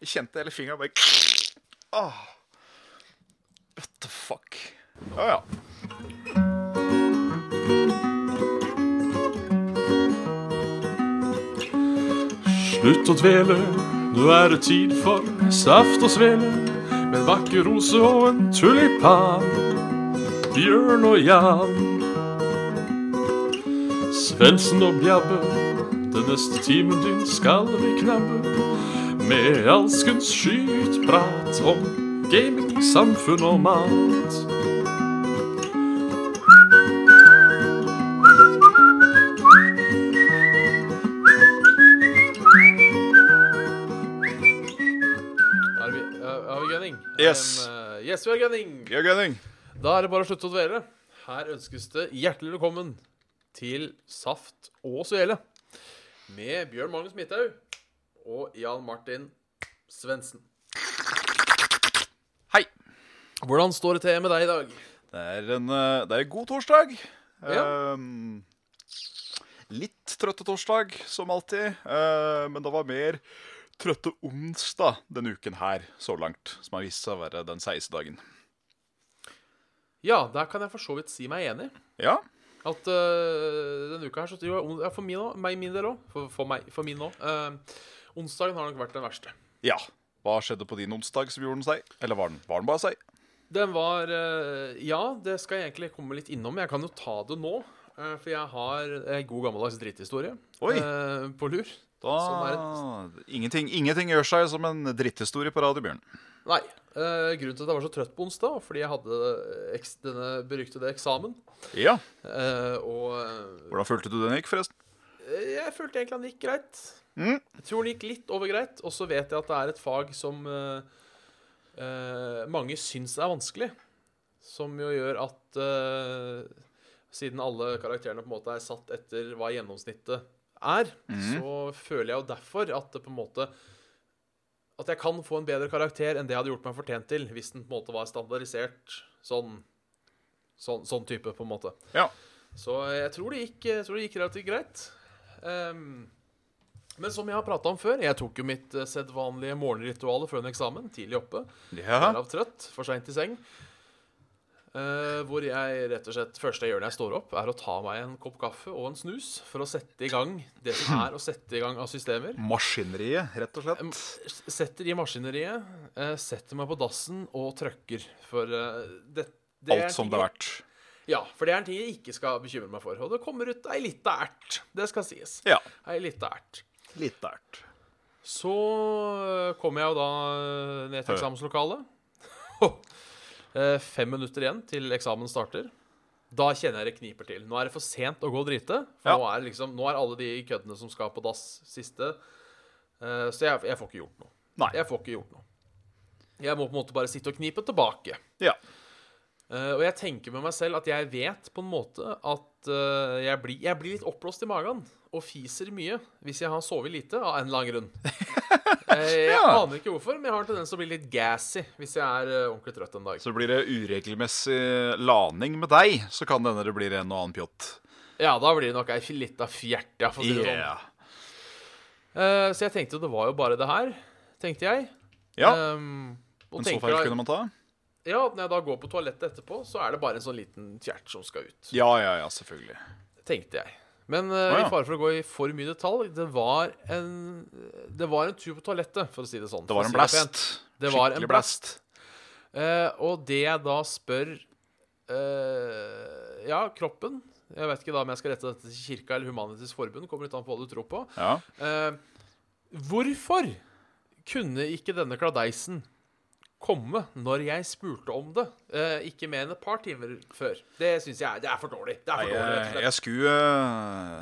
Jeg kjente hele fingeren bare Åh. What the fuck? Å ja. Slutt å dvele, nå er det tid for saft og svele. Med en vakker rose og en tulipan. Bjørn og Jan. Svendsen og Bjabbe, den neste timen din skal vi knabbe. Med alskens skytprat om gaming, samfunn og mat. Er vi, er, er vi gunning? Yes. Um, uh, yes, vi er gunning. Ja, Gunning. Da er det bare å slutte å dvele. Her ønskes det hjertelig velkommen til Saft og Svele med Bjørn Magnus Midthaug og Jan Martin Svendsen. Hei. Hvordan står det til med deg i dag? Det er en, eh, det er en god torsdag. Ja. Ehm, litt trøtte torsdag, som alltid. eh, men det var mer trøtte onsdag denne uken her, så langt. Som har vist seg å være den seigeste dagen. Ja, der kan jeg for så vidt si meg enig. Ja. At øh, denne uka her så jo, ja, For min, også, meg, min del òg. For, for, meg- for min òg. onsdagen har nok vært den verste. ja. Hva skjedde på din onsdag som gjorde den seig? Eller var den, var den bare seig? Den var eh, Ja, det skal jeg egentlig komme litt innom. Jeg kan jo ta det nå. eh, For jeg har en god gammeldags dritthistorie Oi. eh, på lur. Da, ingenting, ingenting gjør seg som en dritthistorie på Radio Bjørn. Nei. eh, grunnen til at jeg var så trøtt på onsdag, var fordi jeg hadde eh, eks denne beryktede eksamen. Ja. eh, og Hvordan følte du den gikk, forresten? eh, jeg følte egentlig han gikk greit. Mm. Jeg tror han gikk litt over greit. Og så vet jeg at det er et fag som eh, eh, mange syns er vanskelig. Som jo gjør at eh, siden alle karakterene på en måte er satt etter hva gjennomsnittet er, Mhm. så føler jeg jo derfor at det på en måte At jeg kan få en bedre karakter enn det jeg hadde gjort meg fortjent til hvis den på en måte var standardisert sånn. Sånn, sånn type, på en måte. Ja. Så jeg tror det gikk, jeg tror det gikk relativt greit. Ehm, men som jeg har prata om før, jeg tok jo mitt eh, sedvanlige morgenrituale før en eksamen. Tidlig oppe, Ja. derav trøtt, for seint i seng. Eh, hvor jeg rett og slett første jeg gjør når jeg står opp, er å ta meg en kopp kaffe og en snus for å sette i gang det som er å sette i gang av systemer. Maskineriet, rett og Em, slett. s- Setter i maskineriet, eh, setter meg på dassen og trøkker. For eh, det, det er Alt som det ting- er verdt. Ja, for det er en ting jeg ikke skal bekymre meg for. Og det kommer ut ei lita ert. Det skal sies. Ja. Ei lita ert. Litt ert. Så øh, kom jeg jo da øh, ned til Hø. eksamenslokalet. Eh, Fem minutter igjen til eksamen starter. Da kjenner jeg det kniper til. Nå er det for sent å gå og drite. For Ja. nå, er det liksom, nå er alle de køddene som skal på dass, siste. Eh, Så jeg, jeg får ikke gjort noe. Nei. Jeg får ikke gjort noe. Jeg må på en måte bare sitte og knipe tilbake. Ja. Eh, og jeg tenker med meg selv at jeg vet på en måte at eh, jeg, blir, jeg blir litt oppblåst i magen og fiser mye hvis jeg har sovet lite av en eller annen grunn. Eh, jeg Ja. aner ikke hvorfor, men jeg har en tendens til å bli litt gassy hvis jeg er eh, ordentlig trøtt en dag. Så blir det uregelmessig laning med deg, så kan det hende det blir en og annen pjott. Ja, da blir det nok ei fi- lita fjert, ja, for å si det sånn. Yeah. Eh, så jeg tenkte jo det var jo bare det her, tenkte jeg. Ja, Um, og men så tenker feil jeg- kunne man ta? Ja, at når jeg da går på toalettet etterpå, så er det bare en sånn liten fjert som skal ut. Ja, ja, ja, selvfølgelig. tenkte jeg. Men eh, Å, ja. i fare for å gå i for mye detalj, det var en, det var en tur på toalettet, for å si det sånn. Det var en for å si det pent. blast. Det var en Skikkelig Eh, og det jeg da spør eh, Ja, kroppen Jeg vet ikke da om jeg skal rette dette til Kirka eller Humanitisk Forbund, kommer litt an på hva du tror på. Ja. Eh, hvorfor kunne ikke denne kladeisen komme når jeg spurte om det, eh, ikke mer enn et par timer før? Det syns jeg er, det er for dårlig. Det er Nei, for dårlig, rett og jeg, slett. jeg skulle eh,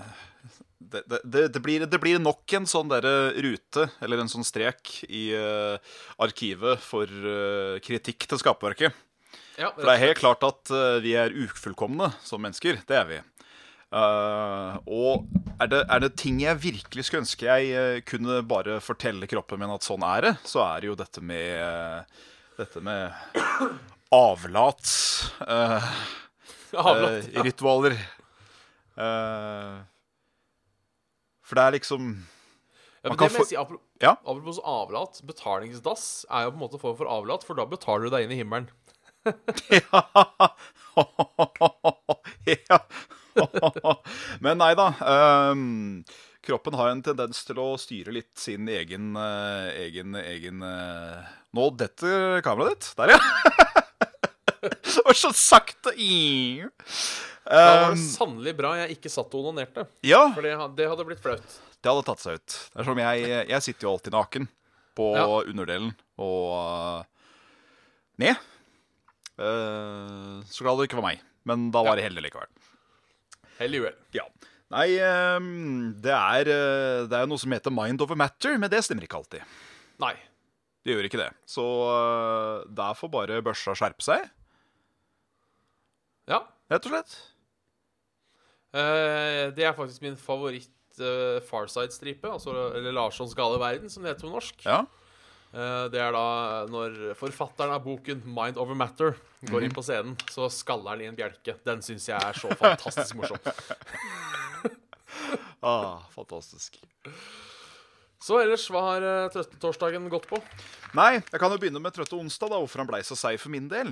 det, det, det- det, blir, det blir nok en sånn derre rute, eller en sånn strek, i eh, arkivet for eh, kritikk til skaperverket. Ja, For det er helt klart at eh, vi er ufullkomne som mennesker. Det er vi. Eh, og er det, er det ting jeg virkelig skulle ønske jeg eh, kunne bare fortelle kroppen min at sånn er det, så er det jo dette med eh, Dette med eh, avlatsritualer. Avlatt, eh, ja. ritualer Eh, for det er liksom Ja, men kan det må jeg få- si, apro- Ja. Apropos avlat. Betalingsdass er jo på en måte en form for avlat, for da betaler du deg inn i himmelen. ja. Men nei da. ehm, kroppen har en tendens til å styre litt sin egen eh, egen, egen eh, Nå detter kameraet ditt. Der, ja. Det var så sakte. I. Da var det Ehm, sannelig bra jeg ikke satt og onanerte, ja, for det, ha- det hadde blitt flaut. det hadde tatt seg ut. Det er som jeg, jeg sitter jo alltid naken på Ja. underdelen og eh, ned. Eh, så glad det ikke var meg. Men da var det heldig likevel. Hell i uhell. Ja. Nei, ehm, det er, eh, det er noe som heter mind over matter, men det stemmer ikke alltid. Nei. Det gjør ikke det. Så eh, der får bare børsa skjerpe seg, Ja. rett og slett. Eh, det er faktisk min favoritt eh, Farside-stripe, altså, eller Larssons gale verden, som det heter på norsk. Ja. Eh, Det er da når forfatteren av boken 'Mind Over Matter' går Mhm. inn på scenen, så skaller han i en bjelke. Den syns jeg er så fantastisk morsom. Ah, fantastisk. Så ellers, hva har eh, trøttetorsdagen gått på? Nei, jeg kan jo begynne med Trøtte onsdag, da, hvorfor han blei så seig for min del.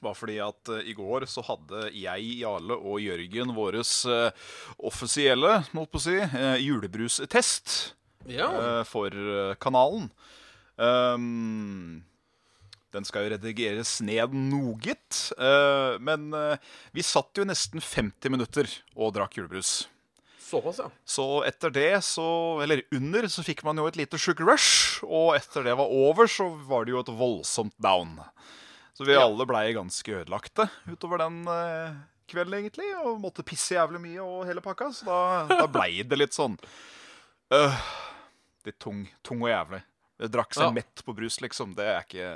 Var fordi at eh, i går så hadde jeg, Jarle og Jørgen våres eh, offisielle, holdt på å si, eh, julebrustest. Ja. eh, for eh, kanalen. Ehm, den skal jo redigeres ned noget, eh, men eh, vi satt jo nesten 50 minutter og drakk julebrus. Såpass, ja. Så etter det, så, eller under, så fikk man jo et lite sugar rush, og etter det var over, så var det jo et voldsomt down. Så vi Ja. alle blei ganske ødelagte utover den eh, kvelden, egentlig, og måtte pisse jævlig mye og hele pakka, så da, da blei det litt sånn øh, Litt tung, tung og jævlig. Det drakk seg Ja. mett på brus, liksom. Det er, ikke,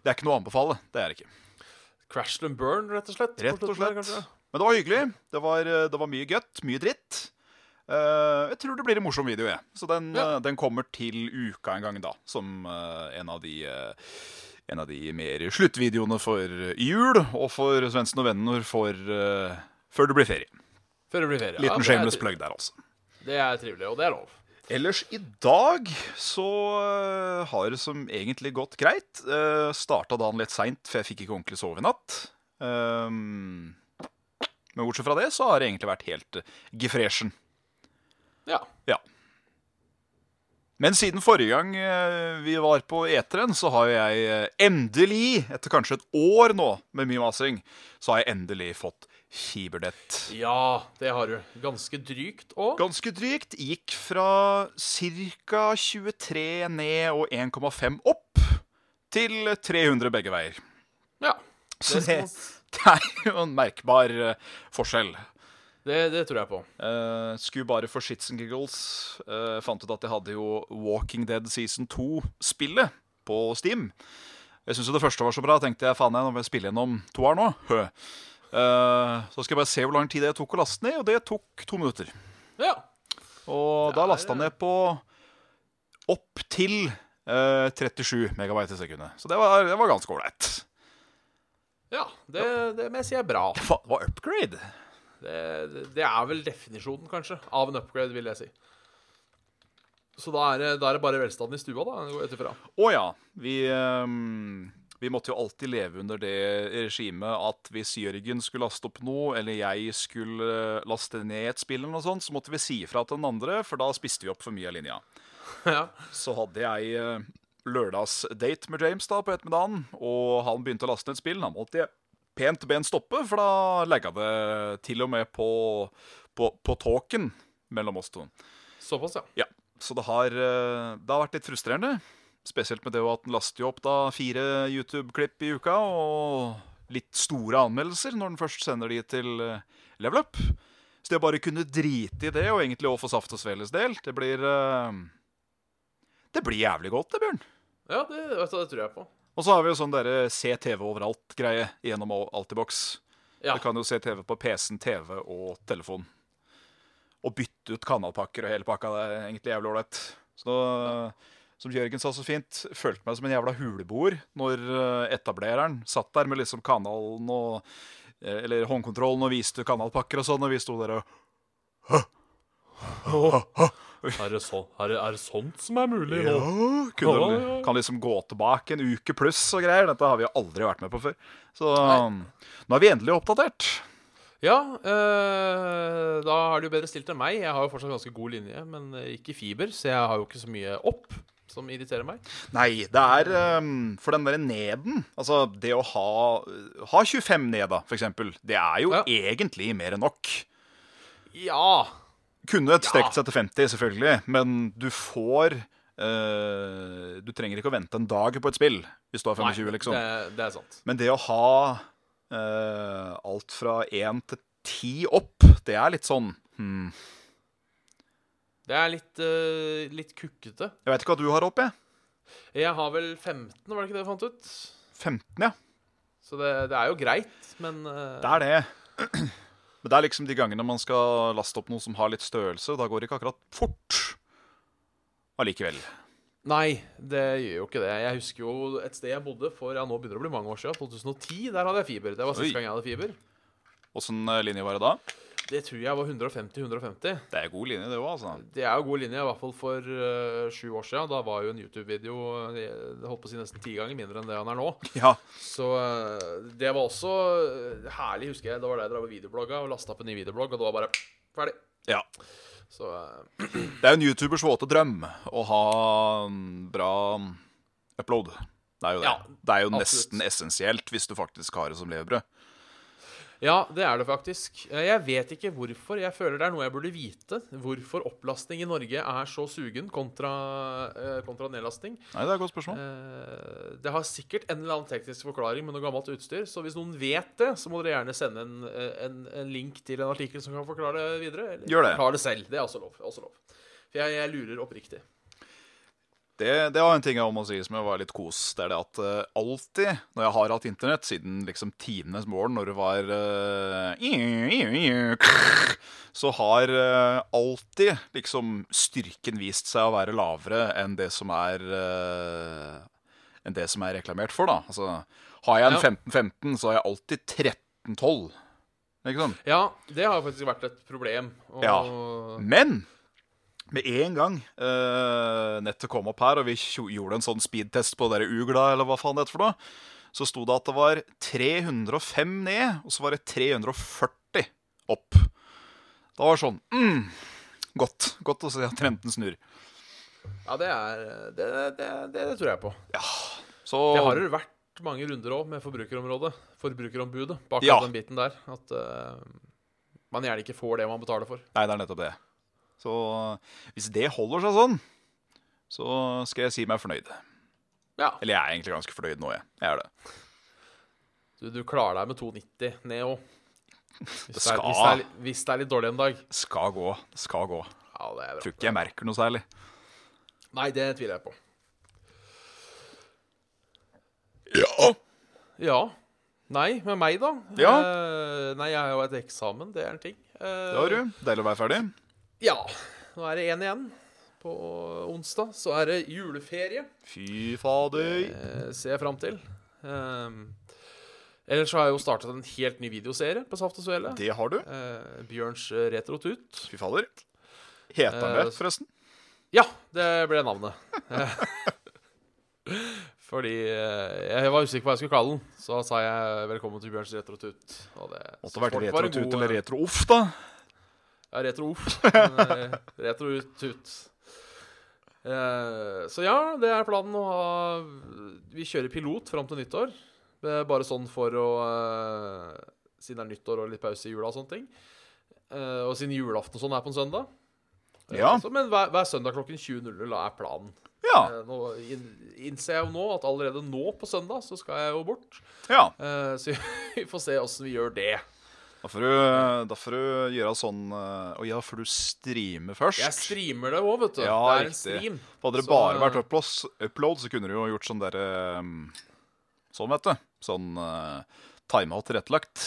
det er ikke noe å anbefale. Det er det ikke. Crash and burn, rett og slett. på Rett og slutten der, slett. kanskje? Men det var hyggelig. Det var, eh, det var mye gøtt, mye dritt. Eh, jeg tror det blir en morsom video, jeg. Så den, Ja. eh, den kommer til uka en gang, da. Som eh, en av de eh, En av de mer sluttvideoene for eh, jul, og for Svendsen og venner for eh, før det blir ferie. Før det blir ferie. Liten det er shameless tri- plug der, altså. Det er trivelig, og det er lov. Ellers i dag så eh, har det som egentlig gått greit. Uh, starta dagen litt seint, for jeg fikk ikke ordentlig sove i natt. Ehm, men bortsett fra det så har det egentlig vært helt uh, gefreshen. Ja. Ja. Men siden forrige gang eh, vi var på eteren, så har jeg eh, endelig, etter kanskje et år nå med mye masing, så har jeg endelig fått fibernett. ja, det har du. Ganske drygt og Ganske drygt. Gikk fra ca. 23 ned og 1,5 opp til 300 begge veier. Ja. Så Det, skal det, man s- det er jo en merkbar eh, forskjell. det, det tror jeg på. Eh, skulle bare for shits and giggles. eh, fant ut at jeg hadde jo Walking Dead Season 2-spillet på Steam. Jeg syns jo det første var så bra. tenkte jeg, faen jeg, nå må jeg spille gjennom to her nå. Hø. Eh, så skal jeg bare se hvor lang tid det tok å laste ned, og det tok to minutter. Ja. Og Der, da lasta han ja. ned på opp til eh, 37 megabyte i sekundet. Så det var, det var ganske ålreit. ja det, det må jeg si er bra. Det var- det var upgrade. Det, det- det er vel definisjonen, kanskje, av en upgrade, vil jeg si. Så da er det, da er det bare velstanden i stua, da, går jeg ut ifra. Å ja. Vi, ehm, vi måtte jo alltid leve under det regimet at hvis Jørgen skulle laste opp noe, eller jeg skulle eh, laste ned et spill, eller noe sånt, så måtte vi si ifra til den andre, for da spiste vi opp for mye av linja. ja. så hadde jeg eh, lørdagsdate med James da på ettermiddagen, og han begynte å laste ned et spill. Han måtte jeg pent ben stoppe, for da legga det til og med på, på, på talken mellom oss to. Såpass, ja. Ja, Så det har, eh, det har vært litt frustrerende. Spesielt med det jo at den laster jo opp da fire YouTube-klipp i uka, og litt store anmeldelser når den først sender de til eh, Level Up. Så det å bare kunne drite i det, og egentlig også for Saft og Sveles del, det blir eh, Det blir jævlig godt, det, Bjørn. Ja, det, vet du, det tror jeg på. Og så har vi jo sånn derre se TV overalt-greie gjennom Altibox. Ja, Du kan jo se TV på PC-en, TV og telefon. Og bytte ut kanalpakker og hele pakka. Det er egentlig jævlig ålreit. Så nå, som Jørgen sa så fint, følte meg som en jævla huleboer når eh, etablereren satt der med liksom kanalen og eh, Eller håndkontrollen og viste kanalpakker og sånn, og vi sto der og Er det, sånn, er det, er det sånt som er mulig? Ja, nå? kunne Ja, de- ja, ja. Kan liksom gå tilbake en uke pluss og greier. Dette har vi jo aldri vært med på før. Så um, nå er vi endelig oppdatert. Ja, eh, da har de jo bedre stilt enn meg. Jeg har jo fortsatt ganske god linje, men eh, ikke fiber, så jeg har jo ikke så mye opp som irriterer meg. Nei, det er um, for den derre neden Altså, det å ha, ha 25 ned, da, for eksempel, det er jo Ja. egentlig mer enn nok. Ja! Kunne et strekt seg til 50, selvfølgelig, men du får eh, Du trenger ikke å vente en dag på et spill hvis du har 25, liksom. det, det er sant. Men det å ha eh, alt fra 1 til 10 opp, det er litt sånn hmm. Det er litt, eh, litt kukkete. Jeg vet ikke hva du har opp, jeg. Jeg har vel 15, var det ikke det jeg fant ut? 15, ja. Så det, det er jo greit, men eh, Det er det. Men det er liksom de gangene man skal laste opp noe som har litt størrelse. Da går det ikke akkurat fort allikevel. Nei, det gjør jo ikke det. Jeg husker jo et sted jeg bodde for ja, nå begynner det å bli mange år siden. 2010. Der hadde jeg fiber. Det var Oi. siste gang jeg hadde fiber. Åssen eh, linje var det da? Det tror jeg var 150-150. Det er god linje, det òg, altså. Det er jo god linje, i hvert fall for eh, sju år siden. Da var jo en YouTube-video eh, jeg holdt på å si nesten ti ganger mindre enn det han er nå. Ja. Så eh, det var også eh, herlig, husker jeg. Da var det jeg drev og videoblogga og lasta opp en ny videoblogg, og det var bare ferdig. ja. Så eh, Det er jo en youtubers våte drøm å ha mm, bra mm, upload. Det er jo det. Ja, det er jo absolutt. nesten essensielt hvis du faktisk har det som levebrød. Ja, det er det faktisk. Eh, Jeg vet ikke hvorfor. Jeg føler det er noe jeg burde vite. Hvorfor opplastning i Norge er så sugen kontra, eh, kontra nedlastning. Nei, det er et godt spørsmål. Eh, Det har sikkert en eller annen teknisk forklaring med noe gammelt utstyr. Så hvis noen vet det, så må dere gjerne sende en, eh, en, en link til en artikkel som kan forklare det videre. Eller Gjør det. forklare det selv. Det er også lov. Også lov. For jeg, jeg lurer oppriktig. Det, det var en ting jeg må si som jeg var litt kos. Det er det at eh, alltid når jeg har hatt internett, siden liksom tidenes morgen når det var eh, Så har eh, alltid liksom styrken vist seg å være lavere enn det som er eh, Enn det som er reklamert for, da. Altså, har jeg en Ja. 15-15, så har jeg alltid 13-12. Ikke sant? Ja, det har faktisk vært et problem. Og Ja. Men med en gang eh, nettet kom opp her, og vi tjo- gjorde en sånn speedtest på dere ugla, eller hva faen det heter for noe, så sto det at det var 305 ned, og så var det 340 opp. Da var det sånn mm, Godt. Godt å se at trenden snur. ja det, er, det, det, det, det tror jeg på. Så Det har jo vært mange runder òg med forbrukerområdet. Forbrukerombudet bak Ja. den biten der. At eh, man gjerne ikke får det man betaler for. Nei, det er nettopp det. Så hvis det holder seg sånn, så skal jeg si meg fornøyd. Ja. Eller jeg er egentlig ganske fornøyd nå, jeg. jeg er det. Du, du klarer deg med 2,90 ned òg. Hvis, det er- skal. hvis, det er li- hvis det er litt dårlig en dag. Skal gå. Det skal gå. Ja, det er bra. Tror ikke jeg merker noe særlig. Nei, det tviler jeg på. Ja. Ja. Nei, med meg, da? Ja. Eh, nei, jeg har jo et eksamen. Det er en ting. Eh, Det har du. Deilig å være ferdig. Ja. Nå er det én igjen. På onsdag så er det juleferie. Fy fader. eh, ser jeg fram til. Um, ellers så har jeg jo startet en helt ny videoserie på Saft og Svele. Det har du. Eh, Bjørns eh, retrotut. Fy fader. Heter han Eh, det, forresten? Ja, det ble navnet. Eh, Fordi eh, jeg var usikker på hva jeg skulle kalle den. Så sa jeg velkommen til Bjørns retrotut. Og det Måtte vært folk var en retrotut god, eller retro-off, da. Ja, retro-off. men, eh, Retrotut. Eh, Så ja, det er planen å ha Vi kjører pilot fram til nyttår. Det er Bare sånn for å eh, Siden det er nyttår og litt pause i jula og sånne ting. Eh, Og siden julaften og sånn er på en søndag. Eh, Ja. Så, men hver, hver søndag klokken 20.00 er planen. Ja. Eh, Nå inn- innser jeg jo nå at allerede nå på søndag så skal jeg jo bort. ja. Eh, Så vi får se åssen vi gjør det. Da får du, Mm. da får du gjøre sånn eh, Å ja, får du streame først? Jeg streamer det òg, vet du. Ja, det er en riktig. stream. Hadde det Så- bare vært uploads, upload, så kunne du jo gjort sånn derre eh, Sånn, vet du. Sånn eh, timeout tilrettelagt.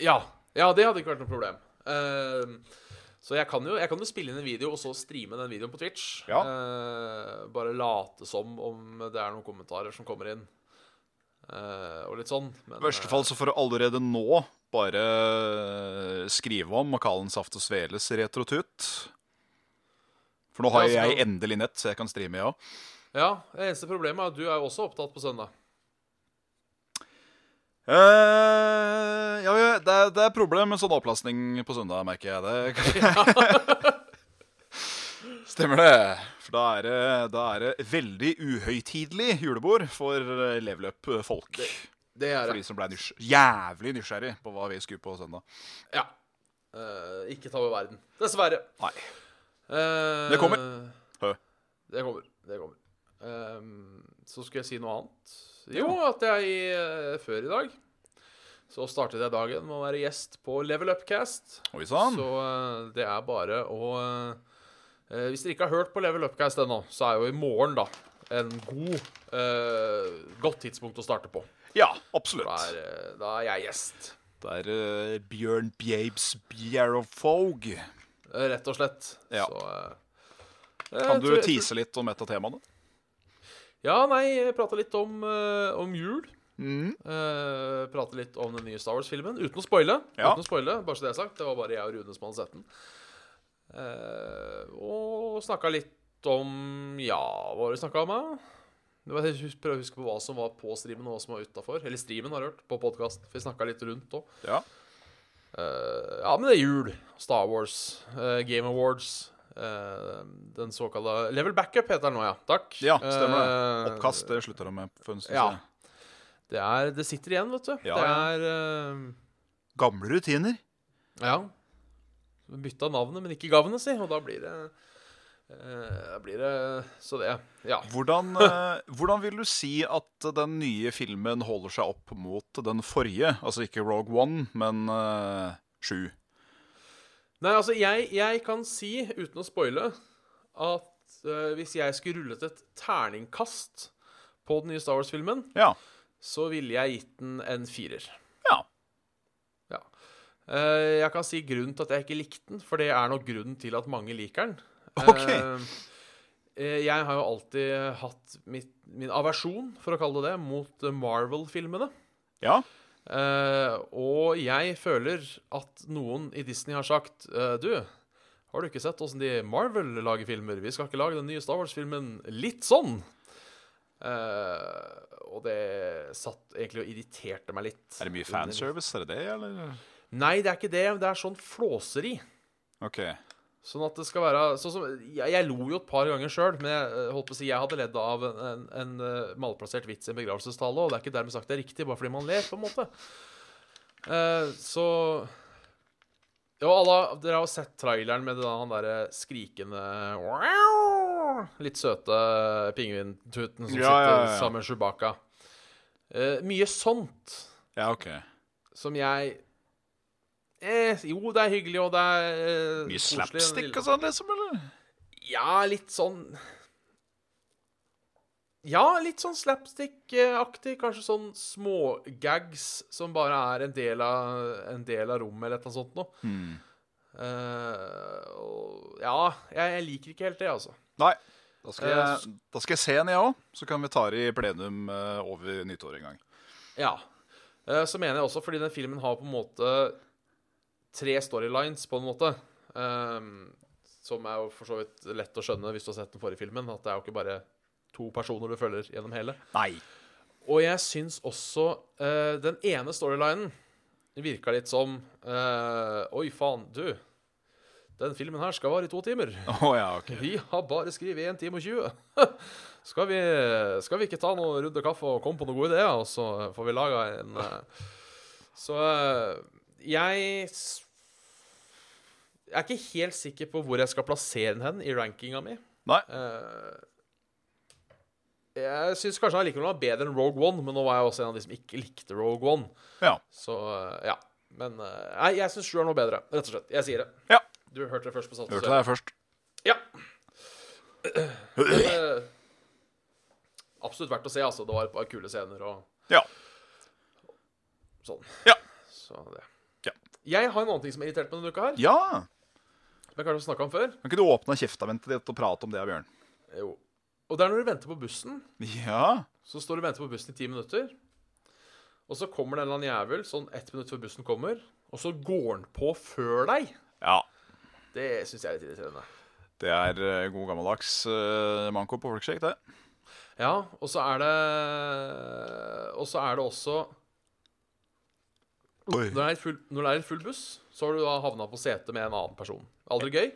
Ja, ja det hadde ikke vært noe problem. Ehm, så jeg kan, jo, jeg kan jo spille inn en video og så streame den videoen på Twitch. Ja. Ehm, bare late som om det er noen kommentarer som kommer inn. Ehm, og litt sånn. Men, I verste fall så får du allerede nå bare eh, skrive om og kalle den Saft og Sveles retrotut. For nå har Ja, altså, så jeg kan- endelig nett, så jeg kan streame, jeg òg. Ja, Det eneste problemet er at du er jo også opptatt på søndag. Eh, ja, ja, det, er- det er problem med sånn avlastning på søndag, merker jeg. Det Stemmer det. For da er det, da er det veldig uhøytidelig julebord for eh, leveløp-folk. Det er For de som ble nysg jævlig nysgjerrig på hva vi skulle på søndag. Ja. Eh, ikke ta over verden. Dessverre. Nei. Eh, Det kommer. Hø. Det kommer. Det kommer. Ehm, så skulle jeg si noe annet. Jo, at jeg eh, før i dag så startet jeg dagen med å være gjest på Level Upcast. Oi sann. Så eh, det er bare å eh, eh, Hvis dere ikke har hørt på Level Upcast ennå, så er jo i morgen da en god eh, godt tidspunkt å starte på. Ja, Da absolutt. er, eh, da er jeg gjest. Det er eh, Bjørn Bjabes Bjerrowfog. Eh, Rett og slett. Ja. Så eh, Kan jeg du tror- jeg tror- tease litt om et av temaene? Ja, nei, jeg prata litt om, eh, om jul. Mm. Uh, prate litt om den nye Star Wars-filmen. Uten å spoile. Ja. Uten å spoile, bare så Det er sagt Det var bare jeg og Rune som hadde sett den. Eh, og snakka litt om Ja, hva var det vi snakka om? da? Det var- Jeg hus- prøver å huske på hva som var på streamen, og hva som var utafor. Eller streamen, har jeg hørt. På podkast. Vi snakka litt rundt òg. Ja. Eh, ja, men det er jul. Star Wars, eh, Game Awards. eh, den såkalla Level Backup heter den nå, ja. Takk. ja, stemmer det. Eh, Oppkast det slutter de med. For en stund ja. siden. Det, er, det sitter igjen, vet du. Ja, det ja. er Gamle rutiner. eh, Ja. Bytta navnet, men ikke gavnet, si. Og da blir det eh, Da blir det så det. Ja. Hvordan, eh, hvordan vil du si at den nye filmen holder seg opp mot den forrige? Altså ikke Rogue One, men eh, Sju. Nei, altså, jeg, jeg kan si, uten å spoile, at eh, hvis jeg skulle rullet et terningkast på den nye Star Wars-filmen, Ja. så ville jeg gitt den en firer. Ja. Ja. Eh, jeg kan si grunnen til at jeg ikke likte den, for det er nok grunnen til at mange liker den. Ok. Eh, eh, jeg har jo alltid hatt mitt, min aversjon, for å kalle det det, mot eh, Marvel-filmene. ja. Eh, og jeg føler at noen i Disney har sagt eh, Du, har du ikke sett åssen de Marvel lager filmer? Vi skal ikke lage den nye Star Wars-filmen litt sånn. Eh, og det satt egentlig og irriterte meg litt. Er det mye fanservice? Er det det, eller? Nei, det er ikke det. Det er sånn flåseri. OK. Sånn at det skal være sånn som, jeg, jeg lo jo et par ganger sjøl, men jeg eh, holdt på å si jeg hadde ledd av en, en, en eh, malplassert vits i en begravelsestale, og det er ikke dermed sagt det er riktig, bare fordi man ler, på en måte. Eh, så Jo, alle, dere har jo sett traileren med det, da, han derre skrikende «Wow!» Litt søte pingvintuten som Ja, ja, sitter ja. sammen med Chewbacca. Eh, mye sånt Ja, OK. som jeg eh, Jo, det er hyggelig, og det er eh, Mye koselig, den slapstick lille- og sånn, liksom? eller? ja, litt sånn Ja, litt sånn slapstick-aktig. Kanskje sånn smågags som bare er en del av, en del av rommet, eller et eller annet sånt noe. Hmm. Eh, og- ja, jeg, jeg liker ikke helt det, altså. Nei. Da skal, Eh, jeg, da skal jeg se den, jeg òg. Så kan vi ta det i plenum eh, over nyttår en gang. Ja. Eh, så mener jeg også, fordi den filmen har på en måte tre storylines, på en måte. ehm, som er jo for så vidt lett å skjønne hvis du har sett den forrige filmen. At det er jo ikke bare to personer du følger gjennom hele. Nei. Og jeg syns også eh, den ene storylinen virka litt som eh, Oi, faen, du. Den filmen her skal vare i to timer. Å ja, OK. Vi har bare skrevet 1 time og 20. skal, vi, skal vi ikke ta noen runde kaffe og komme på noen gode ideer, og så får vi laga en eh, Så eh, jeg s- Jeg er ikke helt sikker på hvor jeg skal plassere den hen i rankinga mi. Nei. Eh, jeg syns kanskje han likevel var bedre enn Rogue One, men nå var jeg også en av de som ikke likte Rogue One. Ja. Så eh, ja. Men eh, nei, jeg syns sju er noe bedre, rett og slett. Jeg sier det. Ja. Du hørte det først på Sats. Hørte deg først. Ja. Eh, Absolutt verdt å se, altså. Det var et par kule scener og Ja. sånn. Ja. Så det. Ja. Jeg har en annen ting som har irritert meg denne uka her. Ja. Vi har kanskje snakka om før. Kan ikke du åpne kjeftamentet ditt og prate om det, Bjørn? Jo. Og det er når du venter på bussen. Ja. Så står du og venter på bussen i ti minutter. Og så kommer det en eller annen jævel sånn ett minutt før bussen kommer, og så går den på før deg. Ja. Det syns jeg er litt irriterende. Det er eh, god gammeldags eh, manko på folkshake, det. Ja, og så er det Og så er det også Når det er full, når det er full buss, så har du da havna på setet med en annen person. Aldri gøy.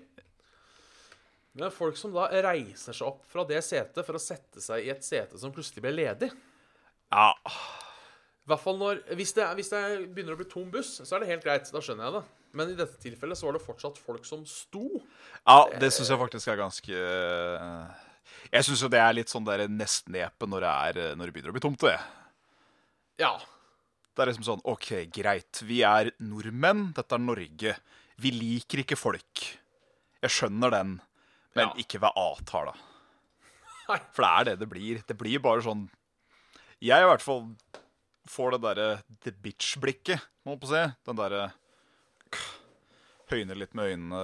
Men det er folk som da reiser seg opp fra det setet for å sette seg i et sete som plutselig ble ledig. Ja. I hvert fall når, hvis det, er- hvis det er- begynner å bli tom buss, så er det helt greit. Da skjønner jeg det. Men i dette tilfellet så var det fortsatt folk som sto. ja, det syns jeg faktisk er ganske eh, Jeg syns jo det er litt sånn der nesten-epe når, det er, eh, når det begynner å bli tomt, det. Ja. Det er liksom sånn OK, greit. Vi er nordmenn. Dette er Norge. Vi liker ikke folk. Jeg skjønner den, men Ja. ikke vær avtala. Nei. For det er det det blir. Det blir bare sånn Jeg i hvert fall får det derre the bitch-blikket, må jeg på å si. Den derre Høyner litt med øynene,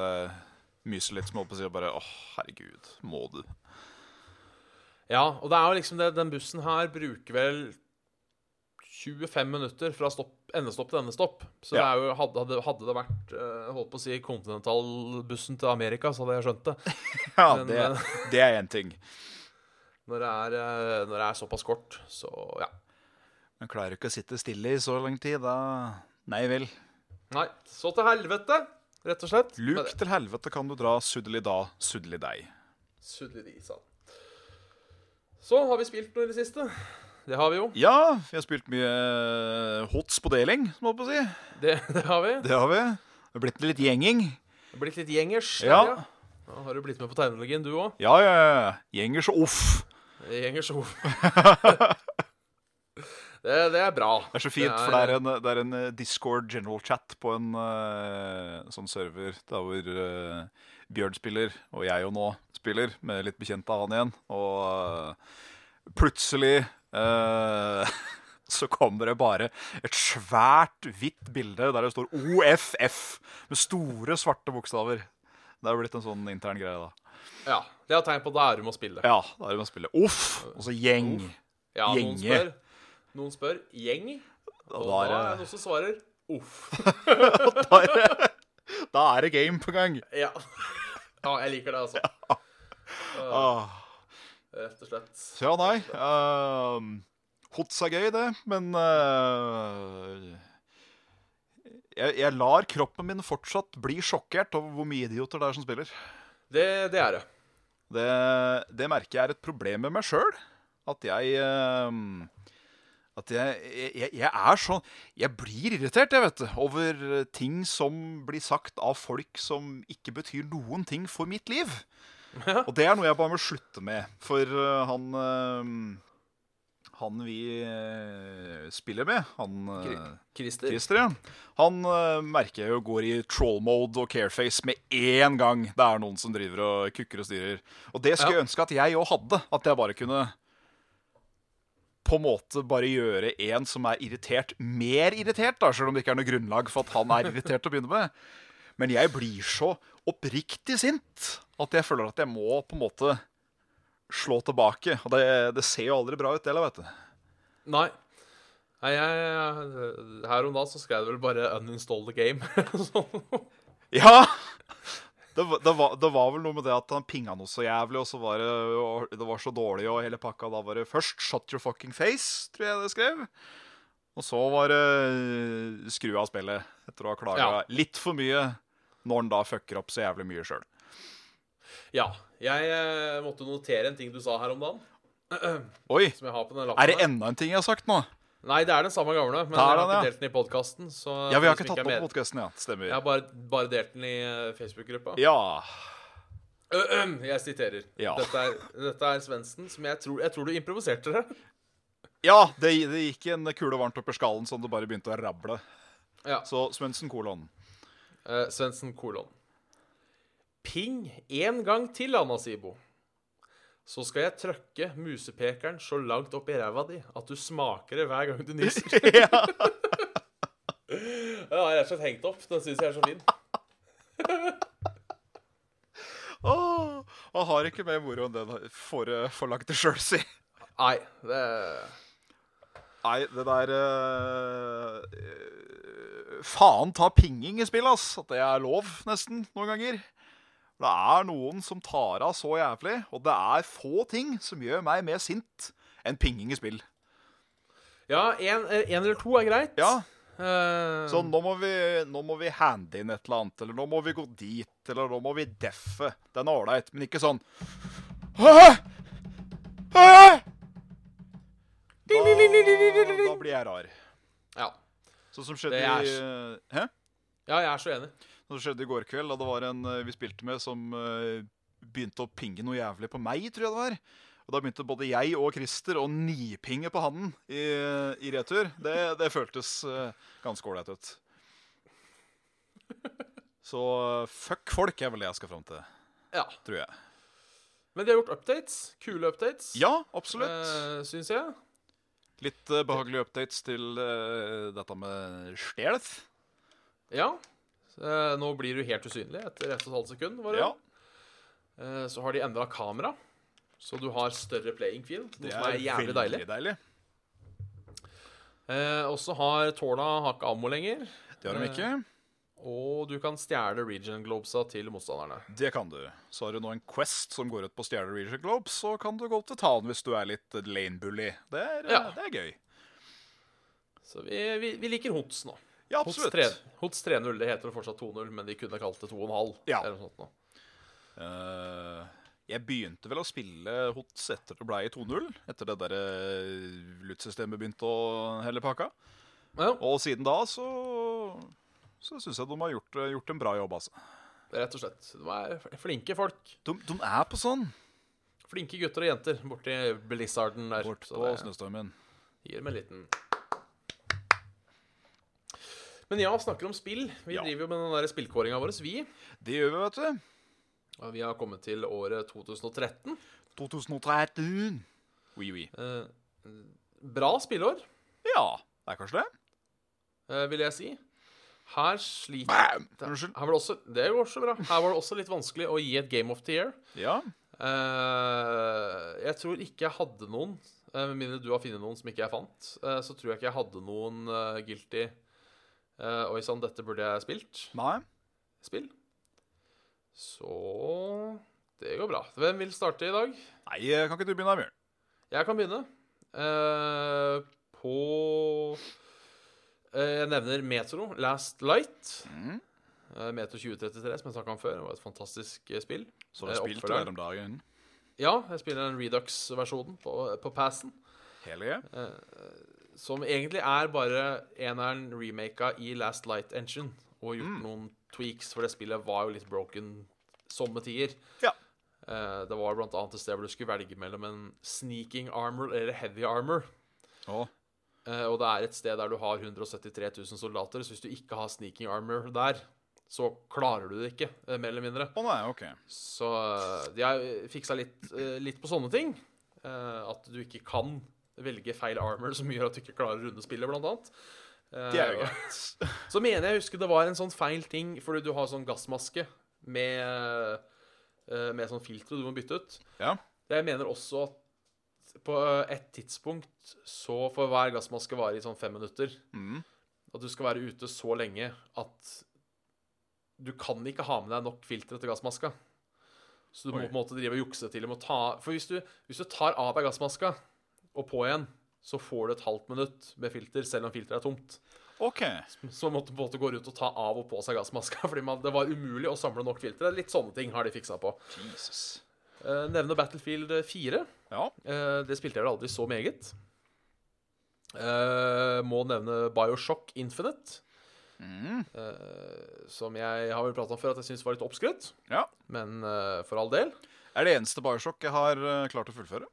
myser litt, må jeg på å si. og Bare åh, herregud, må du? Ja, og det er jo liksom det, den bussen her bruker vel 25 minutter fra stopp, endestopp til endestopp. Så det Ja. er jo, hadde, hadde, hadde det vært eh, holdt på å si kontinentalbussen til Amerika, så hadde jeg skjønt det. Ja, Men, det, eh, det er én ting. Når det er, eh, når det er såpass kort, så ja. Men klarer du ikke å sitte stille i så lang tid, da Nei vel. Nei, så til helvete, rett og slett. Luk til helvete kan du dra, suddeli da, suddeli deg. Sudlig isa. Så har vi spilt noe i det siste. Det har vi jo. Ja, vi har spilt mye eh, hots på deling, må jeg på å si. Det, det har vi. Det har vi. Det har blitt litt gjenging. Det har blitt litt gjengers. Ja. Terje. Ja, har du blitt med på tegnologien, du òg? Ja, ja, ja. Gjengers og off. Gjengers ord. det, det er bra. Det er så fint, Det er- for det er en, det er en eh, Discord general chat på en eh, sånn server der hvor eh, Bjørn spiller, og jeg og nå spiller, med litt bekjent av han igjen. Og eh, plutselig eh, så kommer det bare et svært hvitt bilde der det står OFF med store, svarte bokstaver. Det er blitt en sånn intern greie, da. Ja, Det er et tegn på at da er du med å spille. Ja, da er det med å spille OFF, og så gjeng. Ja, noen Gjenge. spør, noen spør gjeng, og da Da er det er det, noen som svarer uff. da er det, da er det game på gang. Ja. ja, jeg liker det, altså. Ah. Rett og slett. Så ja, nei. Uh, hots er gøy, det, men eh, jeg, jeg lar kroppen min fortsatt bli sjokkert over hvor mye idioter det er som spiller. Det, det er det. Det, det merker jeg er et problem med meg sjøl. At jeg eh, At jeg, jeg, jeg er sånn Jeg blir irritert, jeg, vet du. Over ting som blir sagt av folk som ikke betyr noen ting for mitt liv. Og det er noe jeg bare må slutte med. For eh, han eh, Han vi eh, spiller med, han eh, Christer. Christer, ja. Han eh, merker jeg jo går i troll-mode og careface med én gang det er noen som driver og kukker og styrer. Og det skulle jeg ønske at jeg òg hadde. At jeg bare kunne på en måte bare gjøre en som er irritert, mer irritert, da, selv om det ikke er noe grunnlag for at han er irritert til å begynne med. Men jeg blir så oppriktig sint at jeg føler at jeg må på en måte slå tilbake. Og det, det ser jo aldri bra ut, det heller, vet du. Nei. Nei, jeg, eh, her om dagen så skrev jeg vel bare 'uninstall the game'. sånn. Ja! Det, var- det, var, det var vel noe med det at han pinga noe så jævlig, og så var det, og det var så dårlig, og hele pakka da var det først 'Shut your fucking face', tror jeg det skrev. Og så var det øh, skru av spillet, etter å ha klaga Ja. litt for mye, når han da fucker opp så jævlig mye sjøl. Ja. Jeg eh, måtte notere en ting du sa her om dagen. Oi! Som jeg har på den lappen Er det her. enda en ting jeg har sagt nå? Nei, det er den samme gamle, men Da er jeg har den, ikke ja. delt den i podkasten. Ja, vi har ikke tatt den opp på podkasten, ja. Stemmer. Jeg har bare, bare delt den i eh, Facebook-gruppa. Ja. Jeg siterer. Ja. Dette, er, dette er Svendsen, som jeg tror, jeg tror du improviserte det. ja det, det gikk en kule varmt opp i skallen sånn det bare begynte å rable. Ja. Så Svendsen kolon. Eh, Svendsen kolon. Ping én gang til, Anasibo. Så skal jeg trøkke musepekeren så langt opp i ræva di at du smaker det hver gang du nyser. ja. Den har jeg rett og slett hengt opp. Den syns jeg er så fin. Åh, han har ikke mer moro enn det han får forlagt det sjøl, si. Nei, det Nei, det der eh, eh, Faen ta pinging i spill, ass. At det er lov, nesten, noen ganger. Det er noen som tar av så jævlig, og det er få ting som gjør meg mer sint enn pinging i spill. Ja, én eller to er greit. Ja, Sånn. Eh, Så nå må, vi, nå må vi hande inn et eller annet, eller nå må vi gå dit, eller nå må vi deffe. Den er ålreit, men ikke sånn Hæ? Hæ? Da, da blir jeg rar. ja. Sånn som skjedde Det er i Hæ? ja, jeg er så enig. Sånn som skjedde i går kveld, da det var en eh, vi spilte med som eh, begynte å pinge noe jævlig på meg, tror jeg det var. Og da begynte både jeg og Christer å nipinge på han i, i retur. Det, det føltes eh, ganske ålreit ut. Så eh, fuck folk er vel det jeg skal fram til, Ja. tror jeg. Men de har gjort updates. Kule updates, Ja, absolutt. eh, syns jeg. Litt eh, behagelige updates til eh, dette med stealth. Ja. Eh, nå blir du helt usynlig etter 1,5 sekund. Var det? Ja, Eh, så har de endra kamera, så du har større playing field, noe det som er er veldig jævlig deilig. deilig. deilig. Eh, og så har Tårna har ikke ammo lenger, Det har de ikke. Eh. og du kan stjele region globesa til motstanderne. Det kan du. Så har du nå en Quest som går ut på å stjele Region Globes, så kan du gå opp til Tan hvis du er litt lane-bully. Det, er, eh, Ja. det er gøy. Så vi, vi, vi liker Hots nå. Ja, Hots absolutt. 3 Hots 3.0. Det heter vel fortsatt 2.0, men de kunne kalt det 2.5. Ja. eller noe sånt nå. Eh, jeg begynte vel å spille Hots etter det ble i 2.0, etter det der eh, loot-systemet begynte å helle pakka. Ja, Og siden da så så syns jeg de har gjort, gjort en bra jobb, altså. rett og slett. De er fl- flinke folk. De, de er på sånn Flinke gutter og jenter borti Blizzarden der. bort så på det- snøstormen. Gir dem en liten Men ja, snakker om spill. Vi Ja. driver jo med den der spillkåringa vår, vi. Det gjør vi, vet du. Og vi har kommet til året 2013. 2013. Oui, oui. Eh, bra spillår, Ja, det er kanskje det. eh, vil jeg si. Her sliter Bam! Unnskyld. her var det, også, det går så bra. Her var det også litt vanskelig å gi et Game of the Year. Ja. Eh, jeg tror ikke jeg hadde noen, eh, med mindre du har funnet noen som ikke jeg fant, eh, så tror jeg ikke jeg hadde noen eh, guilty uh, Oi sann, dette burde jeg spilt. Nei. spill. Så det går bra. Hvem vil starte i dag? Nei, eh, kan ikke du begynne, Bjørn? Jeg kan begynne. Eh, på eh, Jeg nevner Metro, Last Light. Mm. Eh, Metro 2033, som jeg snakka om før. Det var et fantastisk eh, spill. Så har Eh, jeg spilt oppfølgeren. der om dagen. Ja, jeg spiller den Redux-versjonen på, på Passen. Hele Som egentlig er bare eneren remaka i Last Light Engine. Og Mm. gjort noen tweaks, for det spillet var jo litt broken somme tider. Ja. Eh, det var blant annet et sted hvor du skulle velge mellom en sneaking armor eller heavy armor. Å, Eh, og det er et sted der du har 173 000 soldater, så hvis du ikke har sneaking armor der, så klarer du det ikke, eh, mer eller mindre. Å nei, OK. Så eh, de har fiksa litt, eh, litt på sånne ting. Eh, At du ikke kan velge feil armor som gjør at du ikke klarer å runde spillet, blant annet. Eh, Det er jo greit. Så mener jeg å huske det var en sånn feil ting, fordi du har sånn gassmaske med, eh, med sånn filtre du må bytte ut. Ja. Jeg mener også at på eh, et tidspunkt så får hver gassmaske vare i sånn fem minutter. Mm. At du skal være ute så lenge at du kan ikke ha med deg nok filtre til gassmaska. Så du må Oi. på en måte drive og jukse til dem og ta For hvis du, hvis du tar av deg gassmaska og på igjen, så får du et halvt minutt med filter, selv om filteret er tomt. OK. Så man måtte på en måte gå rundt og ta av og på seg gassmaska, fordi man, det var umulig å samle nok filtre. Litt sånne ting har de fiksa på. Jesus. Eh, Nevne Battlefield 4. Ja. Eh, det spilte jeg vel aldri så meget. Eh, må nevne Bioshock Infinite, Mm. eh, som jeg har vel prata om før at jeg syns var litt oppskrytt. ja. Men eh, for all del. Er det eneste Bioshock jeg har eh, klart å fullføre.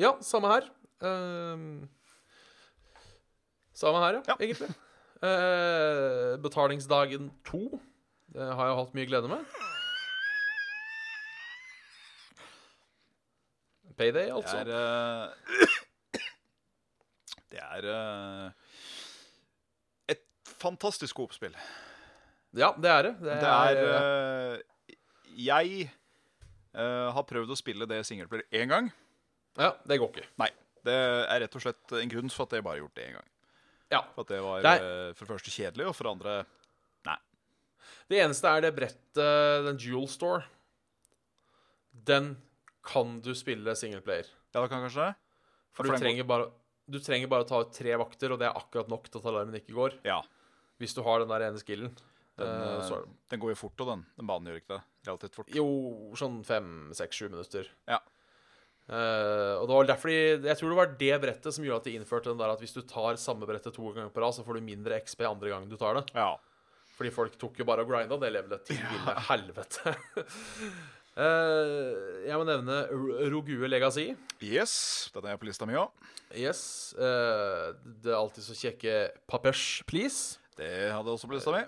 Ja, samme her. Eh, samme her, ja, Ja. egentlig. Eh, betalingsdagen to det har jeg hatt mye glede med. Payday, Det altså. er eh, Det er eh, et fantastisk coop-spill. Ja, det er det. Det Det er eh, Jeg eh, har prøvd å spille det singleplayer én gang. eh, Ja, det går ikke. Nei. Det er rett og slett en grunn for at jeg bare har gjort det én gang. Ja. For at det var Det er- eh, for det første kjedelig, og for det andre Det eneste er det brettet, eh, den Jewel Store, den kan du spille singleplayer. Ja, det kan kanskje det? For For du den går- trenger, bare, du trenger bare å ta ut tre vakter, og det er akkurat nok til at alarmen ikke går. Ja. Hvis du har den der ene skillen. Den, Eh, eh, så er det- den går jo fort, og den. Den banen gjør ikke det. Relativt fort. jo, sånn fem, seks, sju minutter. Ja. Eh, og det var derfor de, Jeg tror det var det brettet som gjorde at de innførte den der at hvis du tar samme brettet to ganger på rad, så får du mindre XP andre gangen du tar det. Ja. Fordi folk tok jo bare og grinda det levelet til ville helvete. Eh, jeg må nevne R- Rogue Legacy. Yes, den er på lista mi òg. Yes. eh, det er alltid så kjekke Papers, please. Det hadde også på lista mi.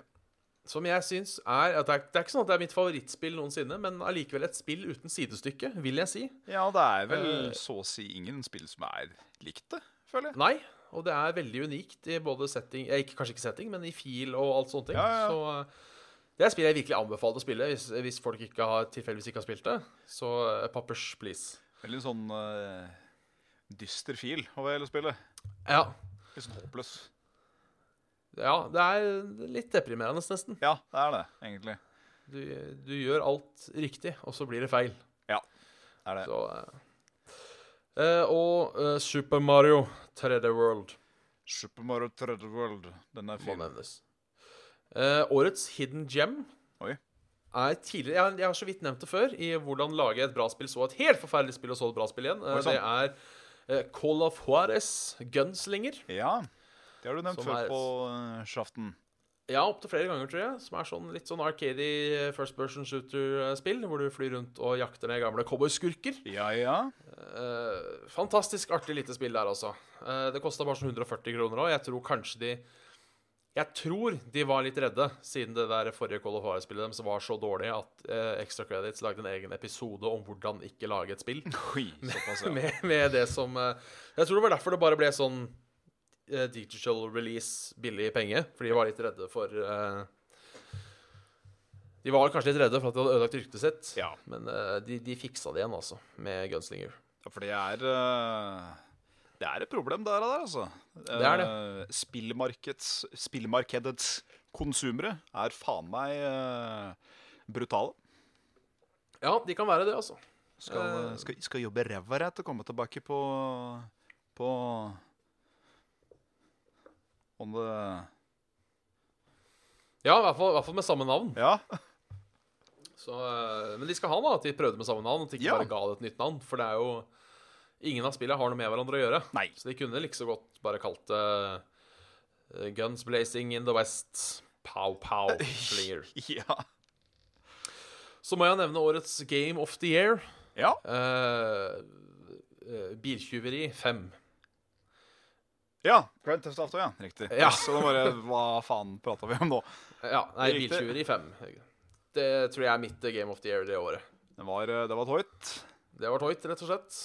Som jeg syns er at det, er det er ikke sånn at det er mitt favorittspill noensinne, men allikevel et spill uten sidestykke, vil jeg si. Ja, det er vel Eh, så å si ingen spill som er likt det, føler jeg. Nei. Og det er veldig unikt i både setting eh, ikke, Kanskje ikke setting, men i fil og alt sånne ting. Ja, ja, ja. Så eh, det er et spill jeg virkelig anbefaler å spille hvis, hvis folk ikke har, tilfeldigvis ikke har spilt det. Så eh, Papers, please. Veldig sånn eh, dyster fil over hele spillet. Ja. Litt sånn håpløs. ja. Det er litt deprimerende, nesten. Ja, det er det, egentlig. Du, du gjør alt riktig, og så blir det feil. Det er det. Så eh. Eh, Og eh, Super Mario 3D World. Super Mario 3D World. Den er må fin. nevnes. Eh, årets hidden gem Oi. er tidligere jeg, jeg har så vidt nevnt det før, i hvordan lage et bra spill, så et helt forferdelig spill, og så et bra spill igjen. Eh, Oi, sant. det er eh, Call of Juarez Gunslinger. Ja. Det har du nevnt Som før er- på eh, Shaften. Ja, opptil flere ganger, tror jeg. Som er sånn litt sånn arcady eh, first person shooter-spill, hvor du flyr rundt og jakter ned gamle cowboyskurker. Ja, ja. Eh, fantastisk artig lite spill der, altså. Eh, det kosta bare sånn 140 kroner òg. Jeg tror kanskje de Jeg tror de var litt redde, siden det der forrige Call of Juarez-spillet deres var så dårlig at eh, Extra Credits lagde en egen episode om hvordan ikke lage et spill. Oi, såpass, ja. Med, med det som eh, Jeg tror det var derfor det bare ble sånn eh, digital release, billig penge. Fordi de var litt redde for eh, De var kanskje litt redde for at de hadde ødelagt ryktet sitt. ja. Men eh, de, de fiksa det igjen, altså, med Gunslinger. Ja, for det er eh, Det er et problem der og der, altså. Det er det. Eh, Spillmarkeds, spillmarkedets konsumere er faen meg eh, brutale. Ja, de kan være det, altså. Skal, Eh. skal, skal jobbe ræva rett og komme tilbake på På On the Ja, i hvert fall, i hvert fall med samme navn. Ja. Så, eh, men de skal ha da, at de prøvde med samme navn, at de ikke Ja. bare ga det et nytt navn. For det er jo Ingen av spillene har noe med hverandre å gjøre. Nei. Så de kunne like så godt bare kalt det eh, Guns Blazing in the West. Pow Pow Slinger. Ja. Så må jeg nevne årets Game of the Year. ja. Eh, eh, biltyveri 5. Ja, Grand Theft Auto, ja. Riktig. Ja. Så da bare Hva faen prata vi om nå? Ja, nei, Riktig. Biltyveri 5. Det tror jeg er mitt eh, Game of the Year det året. Det var, eh, det var et hoit. Det var toit, rett og slett.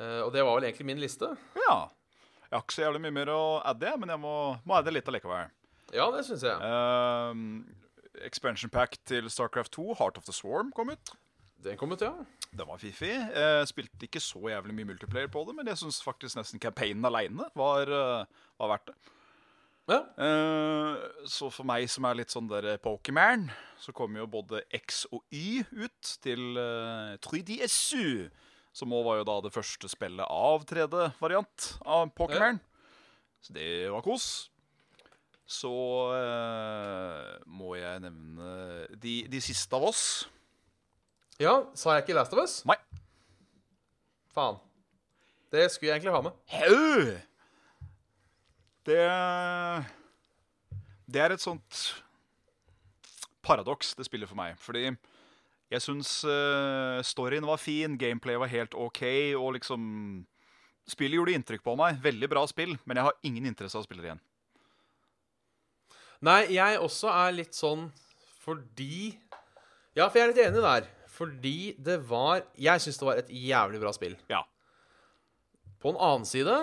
Eh, og det var vel egentlig min liste. Ja. Jeg har ikke så jævlig mye mer å adde, men jeg må, må adde litt allikevel. Ja, det syns jeg. Ehm, expansion pack til Starcraft 2, Heart of the Swarm, kom ut. Den kom ut, ja. Den var fiffig. Eh, spilte ikke så jævlig mye multiplayer på det, men jeg syns faktisk nesten campaignen aleine var, eh, var verdt det. ja. Eh, så for meg som er litt sånn der Pokémon, så kommer jo både X og Y ut til eh, 3DSU. Som òg var jo da det første spillet av 3D-variant av Pokémon. Så det var kos. Så eh, må jeg nevne de, de siste av oss. Ja, Sa jeg ikke Last of Us? Nei. Faen. Det skulle jeg egentlig ha med. Hau! Det Det er et sånt paradoks det spiller for meg. Fordi jeg syns eh, storyen var fin, gameplay var helt OK, og liksom Spillet gjorde inntrykk på meg. Veldig bra spill, men jeg har ingen interesse av å spille det igjen. Nei, jeg også er litt sånn fordi Ja, for jeg er litt enig der. Fordi det var Jeg syns det var et jævlig bra spill. Ja. På en annen side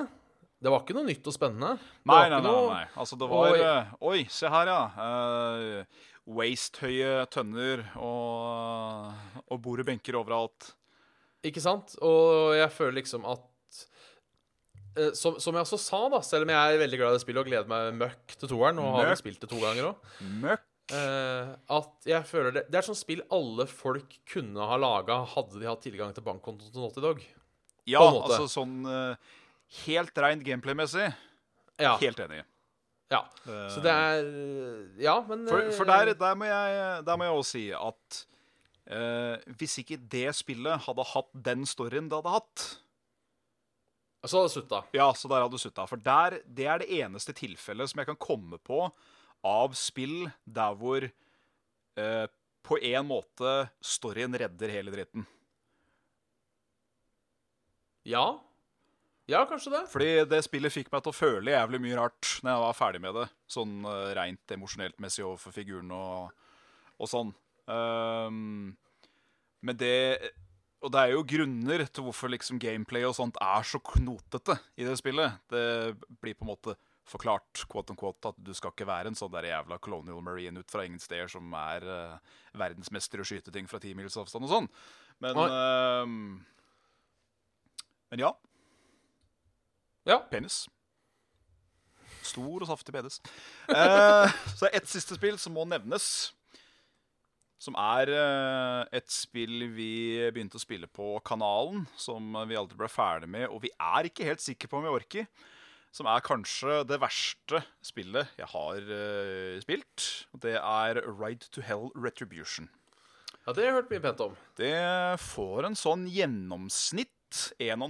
det var ikke noe nytt og spennende. Det Nei, var nei, ikke nei. noe- nei. Altså, det var Oi. Oi, oi se her, ja. Uh, Waist-høye tønner og, og bord og benker overalt. Ikke sant? Og jeg føler liksom at eh, som, som jeg også sa, da, selv om jeg er veldig glad i det spillet og gleder meg møkk til toeren og har Møkk. spilt det to ganger òg Møkk. Eh, at jeg føler det Det er et sånt spill alle folk kunne ha laga hadde de hatt tilgang til bankkontoen til Naughty Dog. Ja, På en måte. altså sånn eh, helt rent gameplay-messig. Ja. Helt enig. Eh, ja. Så det er Ja, men For, eh, for der, der, må jeg, der må jeg også si at eh, hvis ikke det spillet hadde hatt den storyen det hadde hatt Så hadde det slutta. Ja, så der hadde du sutta. For der, det er det eneste tilfellet som jeg kan komme på av spill der hvor eh, på en måte storyen redder hele dritten. Ja. Ja, kanskje det. Fordi det spillet fikk meg til å føle jævlig mye rart når jeg var ferdig med det. Sånn eh, rent emosjonelt messig overfor figuren og, og sånn. Ehm, men det Og det er jo grunner til hvorfor liksom gameplay og sånt er så knotete i det spillet. Det blir på en måte forklart quote unquote, at du skal ikke være en sånn der jævla colonial marine ut fra ingen steder som er eh, verdensmester i å skyte ting fra ti mils avstand og sånn. Men ehm, Men ja. Ja. Penis. Stor og saftig penis. Eh, så det er ett siste spill som må nevnes. Som er eh, et spill vi begynte å spille på kanalen, som vi aldri ble ferdig med, og vi er ikke helt sikre på om vi orker. Som er kanskje det verste spillet jeg har eh, spilt. og Det er Ride to Hell Retribution. Ja, Det har jeg hørt mye pent om. Det får en sånn gjennomsnitt 1,5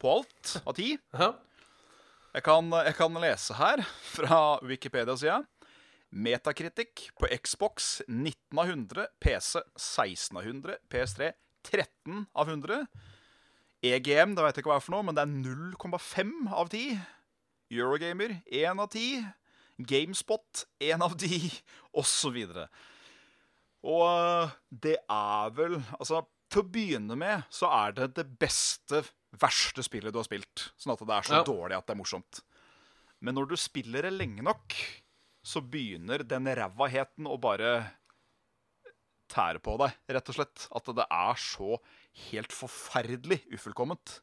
på alt av ti. Ja. Jeg kan, jeg kan lese her fra Wikipedia-sida. Metakritikk på Xbox 19 av 100, PC 16 av 100, PS3 13 av 100. EGM, det veit jeg ikke hva er for noe, men det er 0,5 av 10. Eurogamer 1 av 10. Gamespot 1 av 10, osv. Og øh, det er vel Altså, til å begynne med så er det det beste, verste spillet du har spilt. Sånn at det er så Ja. dårlig at det er morsomt. Men når du spiller det lenge nok, så begynner den rævaheten å bare tære på deg, rett og slett. At det er så helt forferdelig ufullkomment.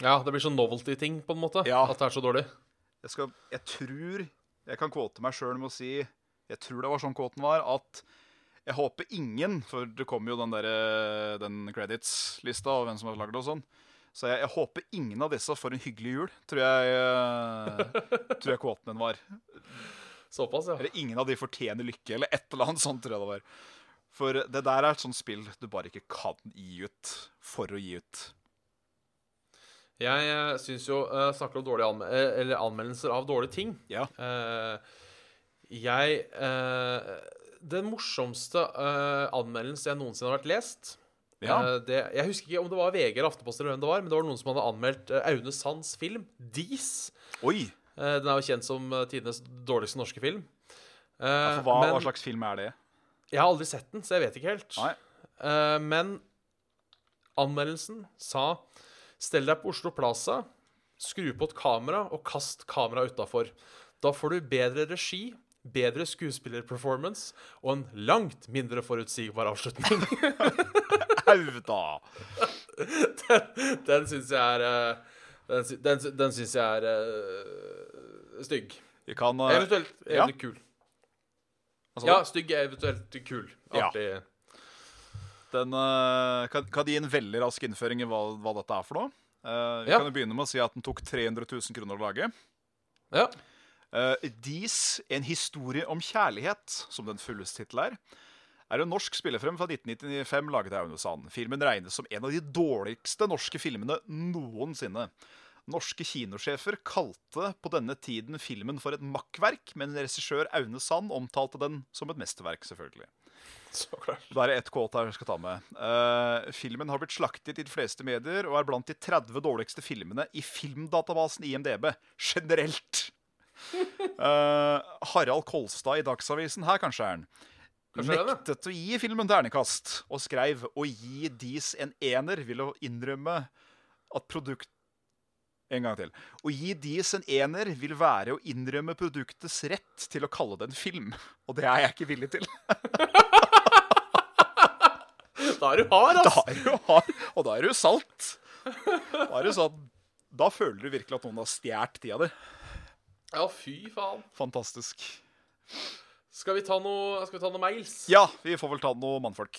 ja, det blir sånn novelty-ting, på en måte. Ja. At det er så dårlig. Jeg, skal, jeg tror Jeg kan kvote meg sjøl med å si Jeg tror det var sånn kvoten var, at jeg håper ingen For det kommer jo den der eh, Den credits-lista og hvem som har lagd det og sånn. Så jeg, jeg håper ingen av disse får en hyggelig jul, tror jeg, eh, tror jeg kvoten min var. Såpass, ja. Eller ingen av de fortjener lykke, eller et eller annet sånt, tror jeg det var. For det der er et sånt spill du bare ikke kan gi ut for å gi ut. Jeg eh, syns jo eh, Snakker om dårlige anme eh, eller anmeldelser av dårlige ting. Ja. Eh, jeg eh, Den morsomste eh, anmeldelsen jeg noensinne har vært lest Ja. eh, det, Jeg husker ikke om det var VG eller Aftenposten, eller hvem det var, men det var noen som hadde anmeldt eh, Aune Sands film, 'Dis'. Oi! Eh, den er jo kjent som eh, tidenes dårligste norske film. Eh, for Hva, men hva slags film er det? Jeg har aldri sett den, så jeg vet ikke helt. Nei. Eh, men anmeldelsen sa Stell deg på Oslo Plaza, skru på et kamera og kast kameraet utafor. Da får du bedre regi, bedre skuespillerperformance og en langt mindre forutsigbar avslutning. Au, da! den syns jeg er eh, Den, sy- den, sy- den syns jeg er eh, stygg. Vi kan eh, Eventuelt ja. kul. hva sa du? Ja, stygg, eventuelt kul. Ja. Artig. den, eh, kan, kan de gi en veldig rask innføring i hva, hva dette er for noe? Eh, vi Ja. kan jo begynne med å si at den tok 300 000 kroner å lage. Ja. Eh, Dis, en historie om kjærlighet, som den fulleste tittel er, er en norsk spillefrem fra 1995 laget av Aune Sand. Filmen regnes som en av de dårligste norske filmene noensinne. Norske kinosjefer kalte på denne tiden filmen for et makkverk, men regissør Aune Sand omtalte den som et mesterverk, selvfølgelig. Så klart. Da er det ett kåt her jeg skal ta med. Eh, filmen har blitt slaktet i de fleste medier og er blant de 30 dårligste filmene i filmdatabasen IMDb generelt. Eh, Harald Kolstad i Dagsavisen her, kanskje er han. Kanskje det er det? Nektet å gi filmen ternekast, og skrev å gi Dis en ener vil å innrømme at produkt... En gang til. Å gi Dis en ener vil være å innrømme produktets rett til å kalle det en film. Og det er jeg ikke villig til. Da er du hard, ass! Da er du hard, og da er du salt. Da er du sånn Da føler du virkelig at noen har stjålet tida di. Ja, fy faen. Fantastisk. Skal vi ta noe, skal vi ta noe mails? Ja, vi får vel ta noe mannfolk.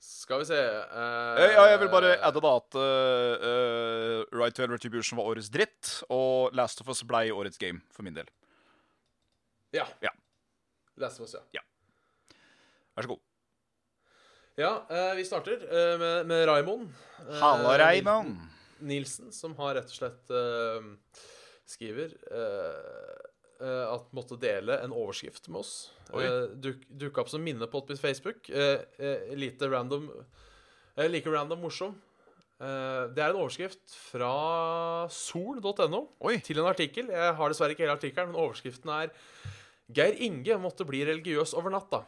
Skal vi se eh, Eh, Ja, jeg vil bare adde da at eh, eh, Right to Hell Retribution var årets dritt, og Last of Us blei årets game, for min del. Ja. Ja. Last of Us, ja. Vær så god. Ja, eh, vi starter eh, med, med Raimond. eh, Halla, Reimann. Nilsen, som har rett og slett eh, skriver eh, eh, at måtte dele en overskrift med oss. Oi. Eh, duk, dukka opp som minne på på Facebook. Eh, eh, lite random eh, Like random morsom. Eh, det er en overskrift fra sol.no Oi. til en artikkel. Jeg har dessverre ikke hele artikkelen, men overskriften er Geir Inge måtte bli religiøs over natta.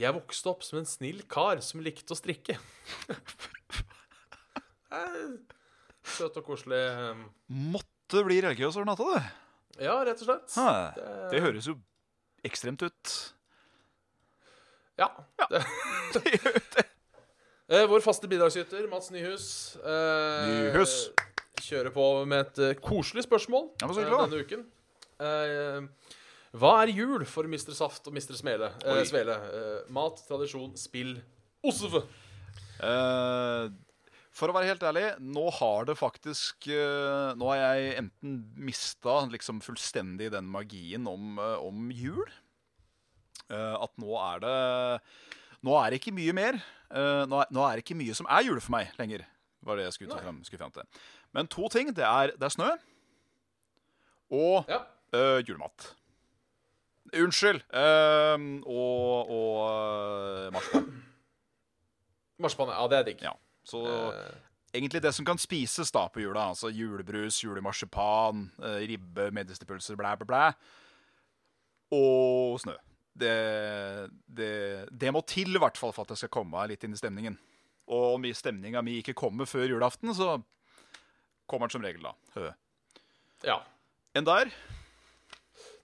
Jeg vokste opp som en snill kar som likte å strikke. Eh, Søt og koselig. eh, Måtte bli religiøs over natta, du. Ja, rett og slett. Hæ, Det høres jo ekstremt ut. Ja. Det- Eh, Vår faste bidragsyter, Mats Nyhus, eh, Nyhus. kjører på med et eh, koselig spørsmål Ja, men så eh, hyggelig, da. denne uken. Eh, Hva er jul for Mr. Saft og Mr. Smele? eh, Oi. Svele? Eh, Mat, tradisjon, spill, osv. Eh, for å være helt ærlig, nå har det faktisk eh, Nå har jeg enten mista liksom fullstendig den magien om, eh, om jul. Eh, at nå er det Nå er det ikke mye mer. eh, nå, er, nå er det ikke mye som er jul for meg lenger. Var det jeg skulle, ta Nei. frem, skulle frem til. Men to ting. Det er, det er snø. Og Ja. eh, julemat. Unnskyld. eh, og og eh, marsipan. Marsipan, ja. Det er digg. Ja. Så Eh, egentlig det som kan spises da på jula. Altså julebrus, julemarsipan, eh, ribbe, medisterpølser, blæ, blæ, blæ. Og snø. Det, det, det må til, i hvert fall, for at jeg skal komme meg litt inn i stemningen. Og om stemninga mi ikke kommer før julaften, så kommer den som regel da. Hø. ja. Enn der?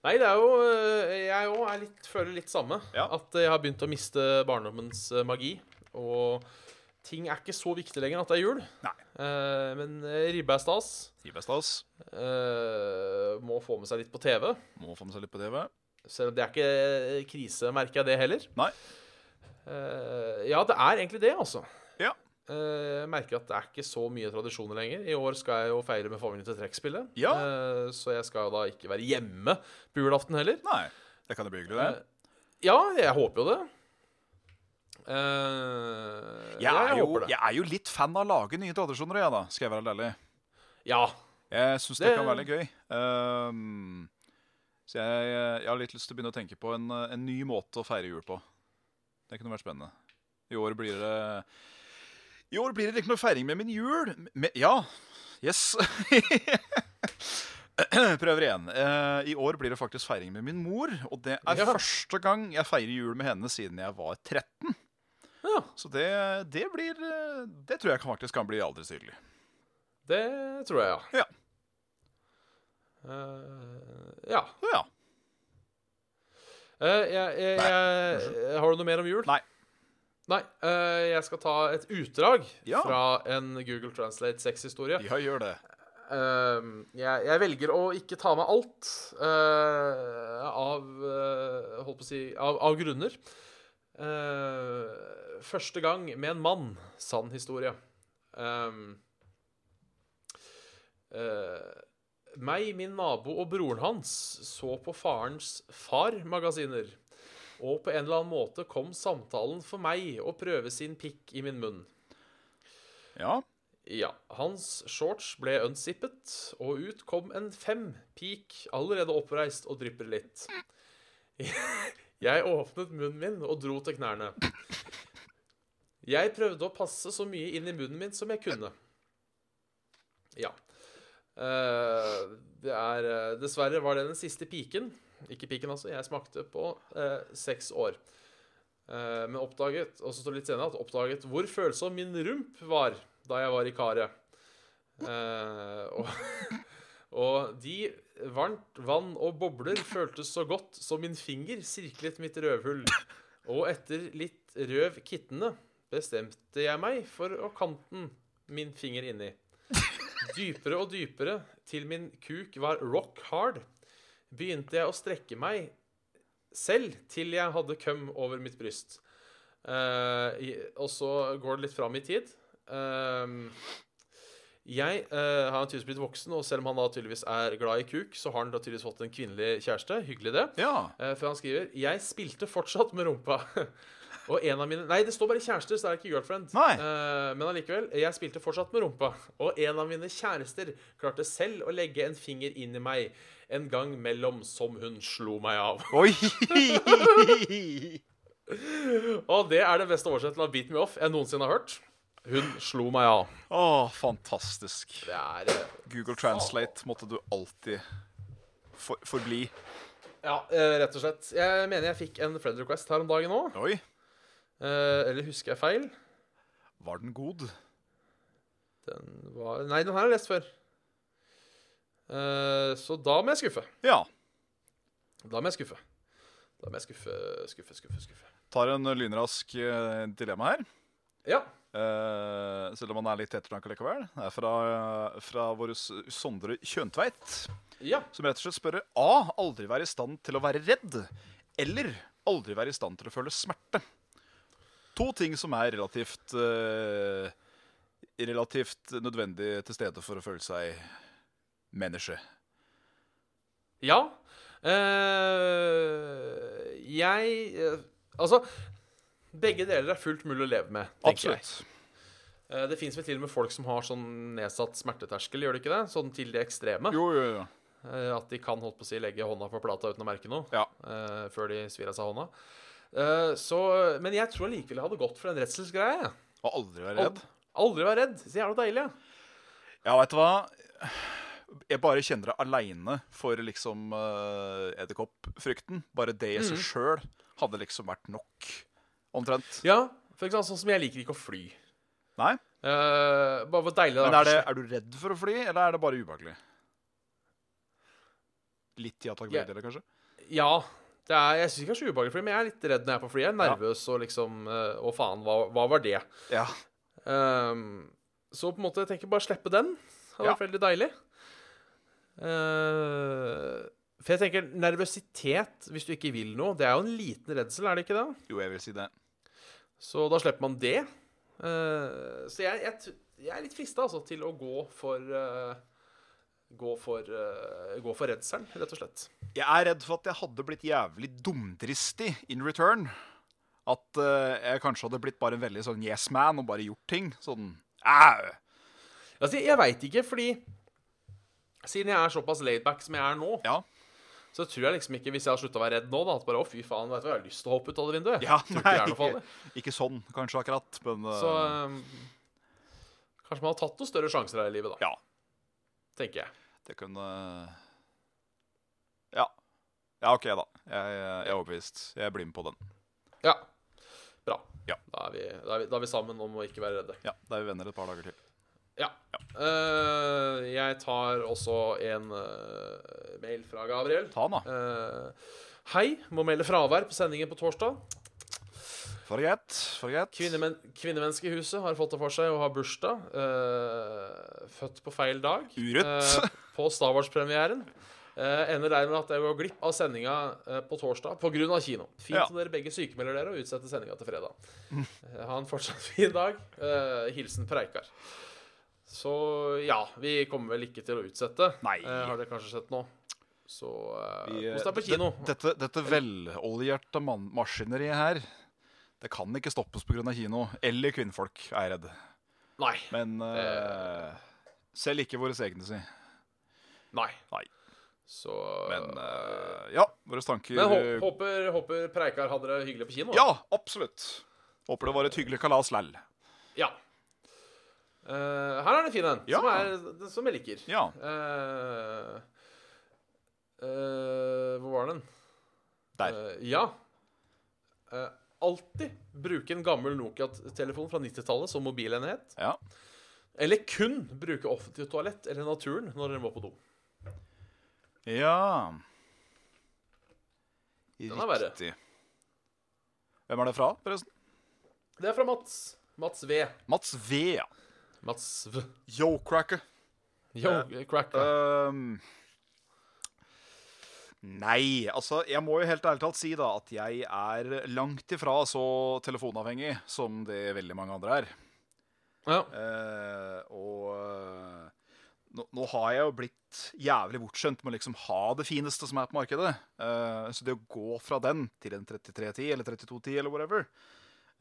Nei, det er jo øh, Jeg òg er litt, føler litt samme. Ja. At øh, jeg har begynt å miste barndommens øh, magi. Og ting er ikke så viktig lenger at det er jul. Nei. Eh, men øh, ribbe er stas. Ribestas. Eh, må få med seg litt på TV. Må få med seg litt på TV. Selv om det er ikke eh, krise, merker jeg det heller. Nei. Eh, ja, det er egentlig det, altså. Ja. Eh, jeg merker at det er ikke så mye tradisjoner lenger. I år skal jeg jo feire med Fangene til trekkspillet. Ja. Eh, så jeg skal da ikke være hjemme på julaften heller. Nei, det kan jo bli hyggelig, det. Ja, jeg håper jo det. Eh, Jeg ja, er, jo, håper det. jeg er jo litt fan av å lage nye tradisjoner, jeg, da, skal jeg være ærlig. Ja. Jeg syns det, Det- kan være litt gøy. Ehm, så jeg, jeg har litt lyst til å begynne å tenke på en, eh, en ny måte å feire jul på. Det kunne vært spennende. I år blir det I år blir det ikke noe feiring med min jul. Med, ja. Yes. Prøver igjen. Eh, I år blir det faktisk feiring med min mor. Og det er Ja. første gang jeg feirer jul med henne siden jeg var 13. ja. Så det, det blir eh, Det tror jeg kan- faktisk kan bli aldri så hyggelig. Det tror jeg, ja. Ja. Eh, ja. Så ja. Eh, jeg, jeg, jeg, har du noe mer om jul? Nei. Nei, eh, jeg skal ta et utdrag Ja. fra en Google Translate sexhistorie. Ja, gjør det. Ehm, jeg, jeg velger å ikke ta med alt eh, av, eh, holdt på å si, av, av grunner. Eh, første gang med en mann. Sann historie. Ehm, eh, meg, min nabo og broren hans så på farens Far-magasiner. Og på en eller annen måte kom samtalen for meg å prøve sin pikk i min munn. Ja. Ja, hans shorts ble unzippet, og ut kom en fem-pik, allerede oppreist og drypper litt. Jeg åpnet munnen min og dro til knærne. Jeg prøvde å passe så mye inn i munnen min som jeg kunne. Ja. Eh, det er eh, Dessverre var det den siste piken. Ikke piken, altså. Jeg smakte på eh, seks år. Eh, men oppdaget og så står det litt senere at oppdaget hvor følsom min rump var da jeg var i karet. Eh, og, og de varmt vann og bobler føltes så godt som min finger sirklet mitt røvhull. Og etter litt røv kittende bestemte jeg meg for å kanten min finger inni. Dypere og dypere til min kuk var rock hard, begynte jeg å strekke meg selv til jeg hadde køm over mitt bryst. Eh, i, og så går det litt fram i tid. Ehm, jeg eh, har tydeligvis blitt voksen, og selv om han da tydeligvis er glad i kuk, så har han da tydeligvis fått en kvinnelig kjæreste. Hyggelig, det. Ja. Eh, før han skriver Jeg spilte fortsatt med rumpa. Og en av mine Nei, det står bare kjærester, så det er ikke girlfriend. Nei. Eh, men allikevel. Jeg spilte fortsatt med rumpa. Og en av mine kjærester klarte selv å legge en finger inn i meg en gang mellom som hun slo meg av. Oi! Og det er den beste oversettelsen av Beat Me Off jeg noensinne har hørt. Hun slo meg av. Å, fantastisk. Det er eh, Google Translate måtte du alltid for, forbli. Ja, eh, rett og slett. Jeg mener jeg fikk en friend request her om dagen òg. Oi, eller husker jeg feil? var den god? Den var Nei, den her har jeg lest før. Eh, så da må jeg skuffe. Ja. Da må jeg skuffe. Da må jeg skuffe, skuffe, skuffe. skuffe. Tar en lynrask eh, dilemma her. Ja. Eh, selv om han er litt ettertanka likevel. Det er fra, eh, fra vår S- Sondre Kjøntveit, Ja. som rett og slett spør A. Aldri være i stand til å være redd. Eller aldri være i stand til å føle smerte. To ting som er relativt eh, Relativt nødvendig til stede for å føle seg menneske. ja. Eh, jeg eh, Altså, begge deler er fullt mulig å leve med. tenker jeg. Absolutt. Eh, det fins vel til og med folk som har sånn nedsatt smerteterskel, gjør det ikke det? Sånn til det ekstreme. Jo, jo, jo. Eh, At de kan holdt på å si, legge hånda på plata uten å merke noe. Ja. eh, før de svir av seg hånda. Eh, så, men jeg tror allikevel jeg hadde gått for en redselsgreie. jeg. Og aldri være redd. Aldri vær redd. Så jævla deilig. ja. Ja, vet du hva? Jeg bare kjenner det aleine for liksom uh, edderkoppfrykten. Bare det i seg sjøl hadde liksom vært nok, omtrent. Ja, for eksempel sånn som jeg liker ikke å fly. Nei? Eh, bare hvor deilig det Men er, det, vært å er du redd for å fly, eller er det bare ubehagelig? Litt i Attack Ja. Baby, eller kanskje? se- Ja. Det er, jeg syns ikke det er så ubehagelig, å fly, men jeg er litt redd når jeg er på flyet. Jeg er Ja. nervøs og liksom eh, Å, faen, hva, hva var det? Ja. Ehm, så på en måte, jeg tenker bare slippe den. Det hadde Ja. vært veldig deilig. Eh, for jeg tenker, nervøsitet hvis du ikke vil noe, det er jo en liten redsel, er det ikke det? Jo, jeg vil si det. Så da slipper man det. Eh, så jeg, jeg, t- jeg er litt frista altså, til å gå for eh, Gå for, eh, gå for redselen, rett og slett. Jeg er redd for at jeg hadde blitt jævlig dumdristig in return. At eh, jeg kanskje hadde blitt bare en veldig sånn yes man og bare gjort ting. Sånn au! Altså, jeg veit ikke, fordi siden jeg er såpass laidback som jeg er nå, Ja. så tror jeg liksom ikke, hvis jeg har slutta å være redd nå, da, at bare å, fy faen, vet du hva, jeg har lyst til å hoppe ut av det vinduet. Ja, Tror ikke nei, det er noe ikke, farlig. ikke sånn kanskje akkurat, men eh, Så eh, kanskje man har tatt noen større sjanser her i livet, da, ja. tenker jeg. Det kunne Ja. Ja, OK, da. Jeg, eh, jeg er overbevist. Jeg blir med på den. Ja. Bra. Ja. Da, er vi, da, er vi, da er vi sammen om å ikke være redde. Ja, Da er vi venner et par dager til. Ja. Eh, jeg tar også en eh, mail fra Gabriel. Ta den, da. Eh, hei, må melde fravær på sendingen på torsdag. For greit. For greit. Kvinnemen Kvinnemennesket i huset har fått det for seg å ha bursdag. eh, født på feil dag. Urett. eh, på Star Wars-premieren. Eh, ender dermed at jeg går glipp av sendinga eh, på torsdag pga. kino. Fint Ja. om dere begge sykemelder dere og utsetter sendinga til fredag. Eh, ha en fortsatt fin dag. Eh, hilsen Preikar. Så ja, vi kommer vel ikke til å utsette. Nei. Eh, har dere kanskje sett nå? Så eh, Vi, eh, kos deg på det- kino. Dette, dette veloljerte man- maskineriet her, det kan ikke stoppes pga. kino. Eller kvinnfolk, er jeg redd. Nei. Men eh, selv ikke våre egne, si. Nei. Nei. Så Men eh, ja, våre tanker Øh. Men hå- håper, håper Preikar hadde det hyggelig på kino. da. Ja, absolutt. Håper det var et hyggelig kalas læll. Ja. Eh, her er det en fin en, Ja. som, er, den som jeg liker. Ja. Eh, eh, hvor var den? Der. Eh, ja. Eh, alltid bruke en gammel Nokia-telefon fra 90-tallet som mobilenhet. Ja. Eller kun bruke offentlig toalett eller naturen når dere må på do. Ja er verre. Riktig. Hvem er det fra, forresten? Det er fra Mats. Mats V. Mats V, ja. Mats V. Yo, cracker. Yo, cracker. Ehm, Nei, altså jeg må jo helt ærlig talt si da at jeg er langt ifra så telefonavhengig som det veldig mange andre er. Ja. Eh, og eh, nå, nå har jeg jo blitt jævlig bortskjønt med å liksom ha det fineste som er på markedet. Eh, så det å gå fra den til en 3310 eller 3210 eller whatever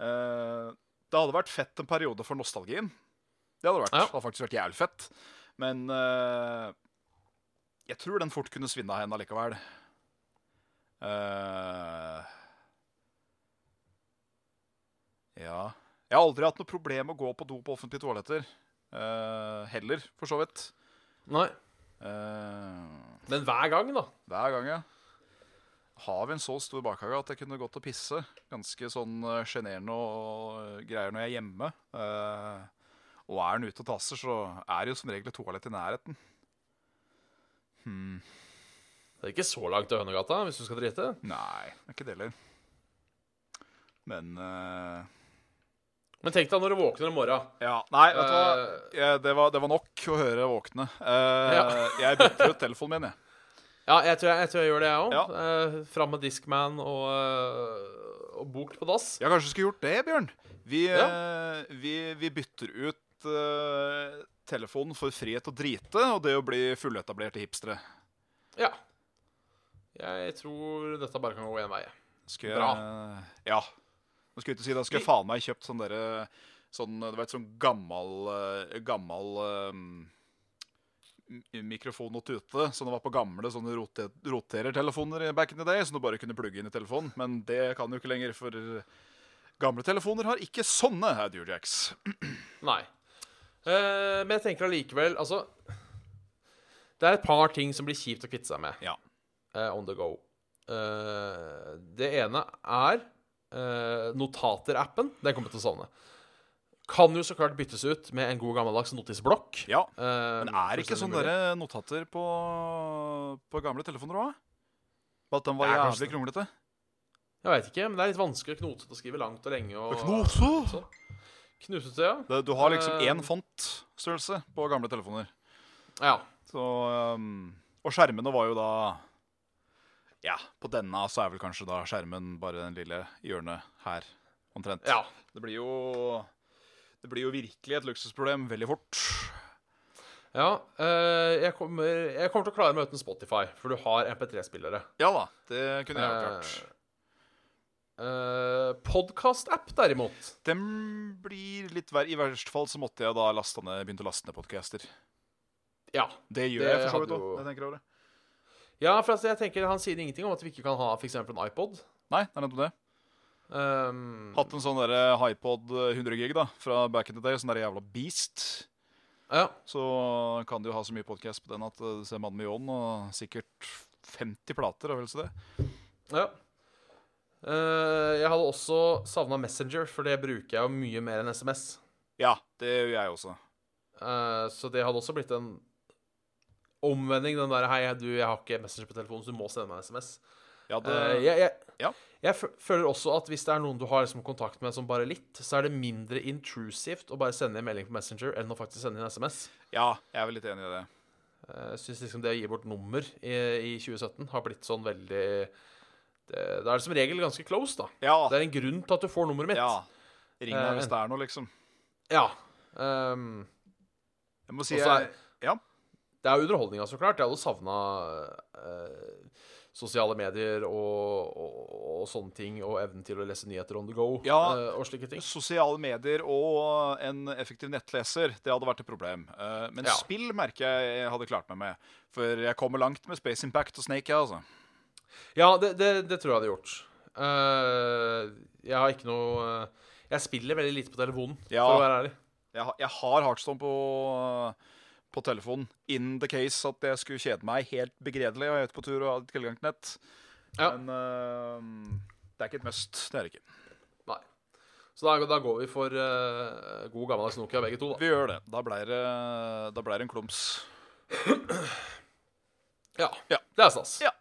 eh, Det hadde vært fett en periode for nostalgien. Det hadde vært, Ja. det hadde faktisk vært jævlig fett. Men eh, jeg tror den fort kunne svinne av henne allikevel. Eh, ja Jeg har aldri hatt noe problem med å gå på do på offentlige toaletter. eh, heller, for så vidt. Nei. Eh, Men hver gang, da. hver gang, ja. Har vi en så stor bakhage at jeg kunne gått og pisse? Ganske sånn eh, sjenerende og og greier når jeg er hjemme. Eh, og er den ute og tasser, så er det jo som regel et toalett i nærheten. Hmm, Det er ikke så langt til Hønegata hvis du skal drite. Nei, det er ikke det heller. Men eh, Men tenk deg når du våkner om morgenen. Eh, Ja, nei, vet du hva? Jeg- Det var, det var nok å høre våkne. Eh, jeg bytter ut telefonen min, jeg. Ja, jeg tror jeg, jeg, tror jeg gjør det, jeg òg. Ja. Eh, Fram med Discman og, eh, og bok på dass. Ja, kanskje du skulle gjort det, Bjørn. Vi, eh, vi, vi bytter ut eh, telefonen for frihet å drite og det å bli fulletablerte hipstere. Ja. Jeg tror dette bare kan gå én vei. Skal jeg, Bra. Ja. Nå skulle jeg til å si det, skulle jeg faen meg kjøpt sånn derre Sånn, du vet, sånn gammel, eh, gammel eh, m- mikrofon og tute, så det var på gamle sånne rote- roterertelefoner i back in the day, som du bare kunne plugge inn i telefonen. Men det kan du ikke lenger, for gamle telefoner har ikke sånne audiojacks. Nei. Eh, men jeg tenker allikevel Altså Det er et par ting som blir kjipt å kvitte seg med Ja. eh, on the go. Eh, det ene er eh, notater-appen. Den kommer jeg til å savne. Kan jo så klart byttes ut med en god gammeldags notisblokk. ja. Eh, Men er det ikke sånne fullstendig mulig. der notater på, på gamle telefoner òg? At den var Det er kanskje jævlig kronglete? Jeg veit ikke, men det er litt vanskelig og knotete å skrive langt og lenge. Og, Knose! Knusete, ja. Det- Du har liksom Eh. én fontstørrelse på gamle telefoner. ja. Så, um, og skjermene var jo da Ja, på denne så er vel kanskje da skjermen bare den lille hjørnet her, omtrent. Ja. Det blir jo Det blir jo virkelig et luksusproblem veldig fort. ja eh, jeg, kommer, jeg kommer til å klare meg uten Spotify, for du har MP3-spillere. Ja da, det kunne jeg ha klart. Uh, Podkast-app, derimot. Dem blir litt verre. I verste fall så måtte jeg da laste ned, begynte å laste ned podcaster. Ja. Det gjør Det jeg for så hadde vidt òg. jo- når jeg tenker over det. ja, for altså, jeg tenker Han sier ingenting om at vi ikke kan ha for eksempel en iPod. Nei, det er nettopp det. Um, Hatt en sånn derre Hypod 100 gig da, fra back in the day, sånn derre jævla beast. ja. så kan du jo ha så mye podkast på den at eh, du ser mannen med ljåen og sikkert 50 plater. er vel så det. ja. Eh, jeg hadde også savna Messenger, for det bruker jeg jo mye mer enn SMS. Ja, det gjør jeg også. Eh, så det hadde også blitt en omvending, den derre 'hei, du, jeg har ikke Messenger på telefonen, så du må sende meg en SMS'. Ja, det, Eh, jeg, jeg, ja. jeg fø- føler også at hvis det er noen du har liksom kontakt med som bare litt, så er det mindre intrusivt å bare sende en melding på Messenger enn å faktisk sende en SMS. ja, jeg er vel litt enig i det. Eh, Jeg synes liksom det å gi bort nummer i, i 2017 har blitt sånn veldig det, Da er det som regel ganske close, da. Ja, Det er en grunn til at du får nummeret mitt. ja. Ring meg Eh, hvis det er noe, liksom. Ja. Ehm, Jeg må si Og så er- jeg, ja. Det er jo underholdninga, så klart. Jeg hadde savna eh, sosiale medier og, og, og sånne ting, og evnen til å lese nyheter on the go Ja. eh, og slike ting. Sosiale medier og en effektiv nettleser, det hadde vært et problem. Eh, Men Ja. spill merker jeg jeg hadde klart meg med. For jeg kommer langt med Space Impact og Snake, jeg, altså. Ja, det, det, det tror jeg hadde gjort. Eh, jeg har ikke noe Jeg spiller veldig lite på telefonen, Ja. for å være ærlig. Jeg, har- jeg har Heartstone på, på telefonen. In the case at jeg skulle kjede meg helt begredelig og jeg er ute på tur og har tilgang til nett. Ja. Men eh, det er ikke et must. Det er det ikke. Nei. Så da, da går vi for eh, god gammeldags Nokia, begge to. da. Vi gjør det. Da ble det, da ble det en klumps. Ja. Ja. Det er stas. Ja.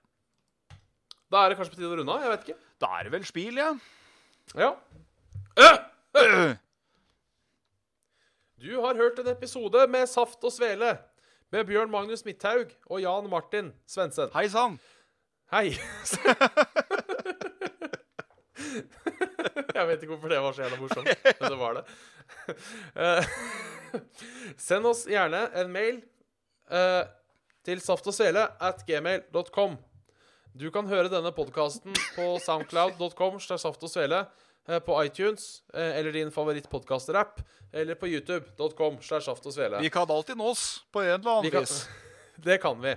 Da er det kanskje på tide å runde av. Jeg vet ikke. Da er det vel spil, ja. Ja. Du har hørt en episode med Saft og Svele med Bjørn Magnus Midthaug og Jan Martin Svendsen. Hei sann. Hei! Jeg vet ikke hvorfor det var så jævla morsomt, men det var det. Eh, Send oss gjerne en mail eh, til saftogsele at gmail.com. Du kan høre denne podkasten på soundcloud.com slash saft og svele, eh, på iTunes eh, eller din favorittpodkast-rapp, eller på youtube.com slash saft og svele. Vi kan alltid nås på en eller annen Vi kan, vis. det kan vi.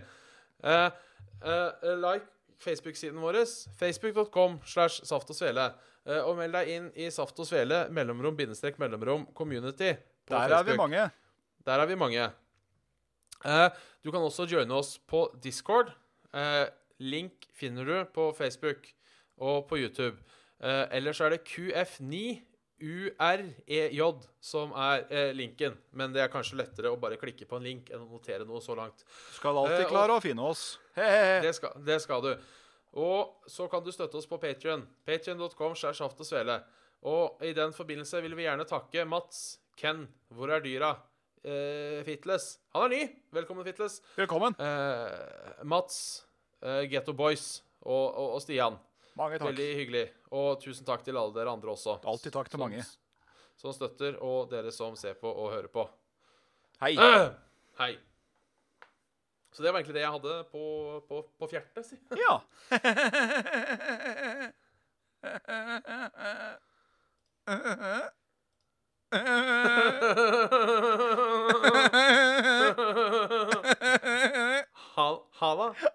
Eh, eh, like Facebook-siden vår. Facebook.com slash Saft og Svele. Eh, og meld deg inn i Saft og Svele mellomrom bindestrek mellomrom community. på Der er vi Facebook. mange. Der er vi mange. Eh, du kan også joine oss på Discord. Eh, link finner du på Facebook og på YouTube. Eh, ellers er det QF9UREJ E som er eh, linken. Men det er kanskje lettere å bare klikke på en link enn å notere noe så langt. Skal Eh, alltid og- klare å finne oss. He-he. Det skal, det skal du. Og så kan du støtte oss på Patrion. Patrion.com skjær saft og svele. Og i den forbindelse vil vi gjerne takke Mats, Ken, hvor er dyra? Eh, Fitles. Han er ny! Velkommen, Fitles. Velkommen. Eh, Mats, eh, Getto Boys og, og, og Stian. Mange takk. Veldig hyggelig. Og tusen takk til alle dere andre også. Alltid takk til mange. Som støtter, og dere som ser på og hører på. Hei. Hei. Så det var egentlig det jeg hadde på, på, på fjertet, si. Ja. Ha, ha det.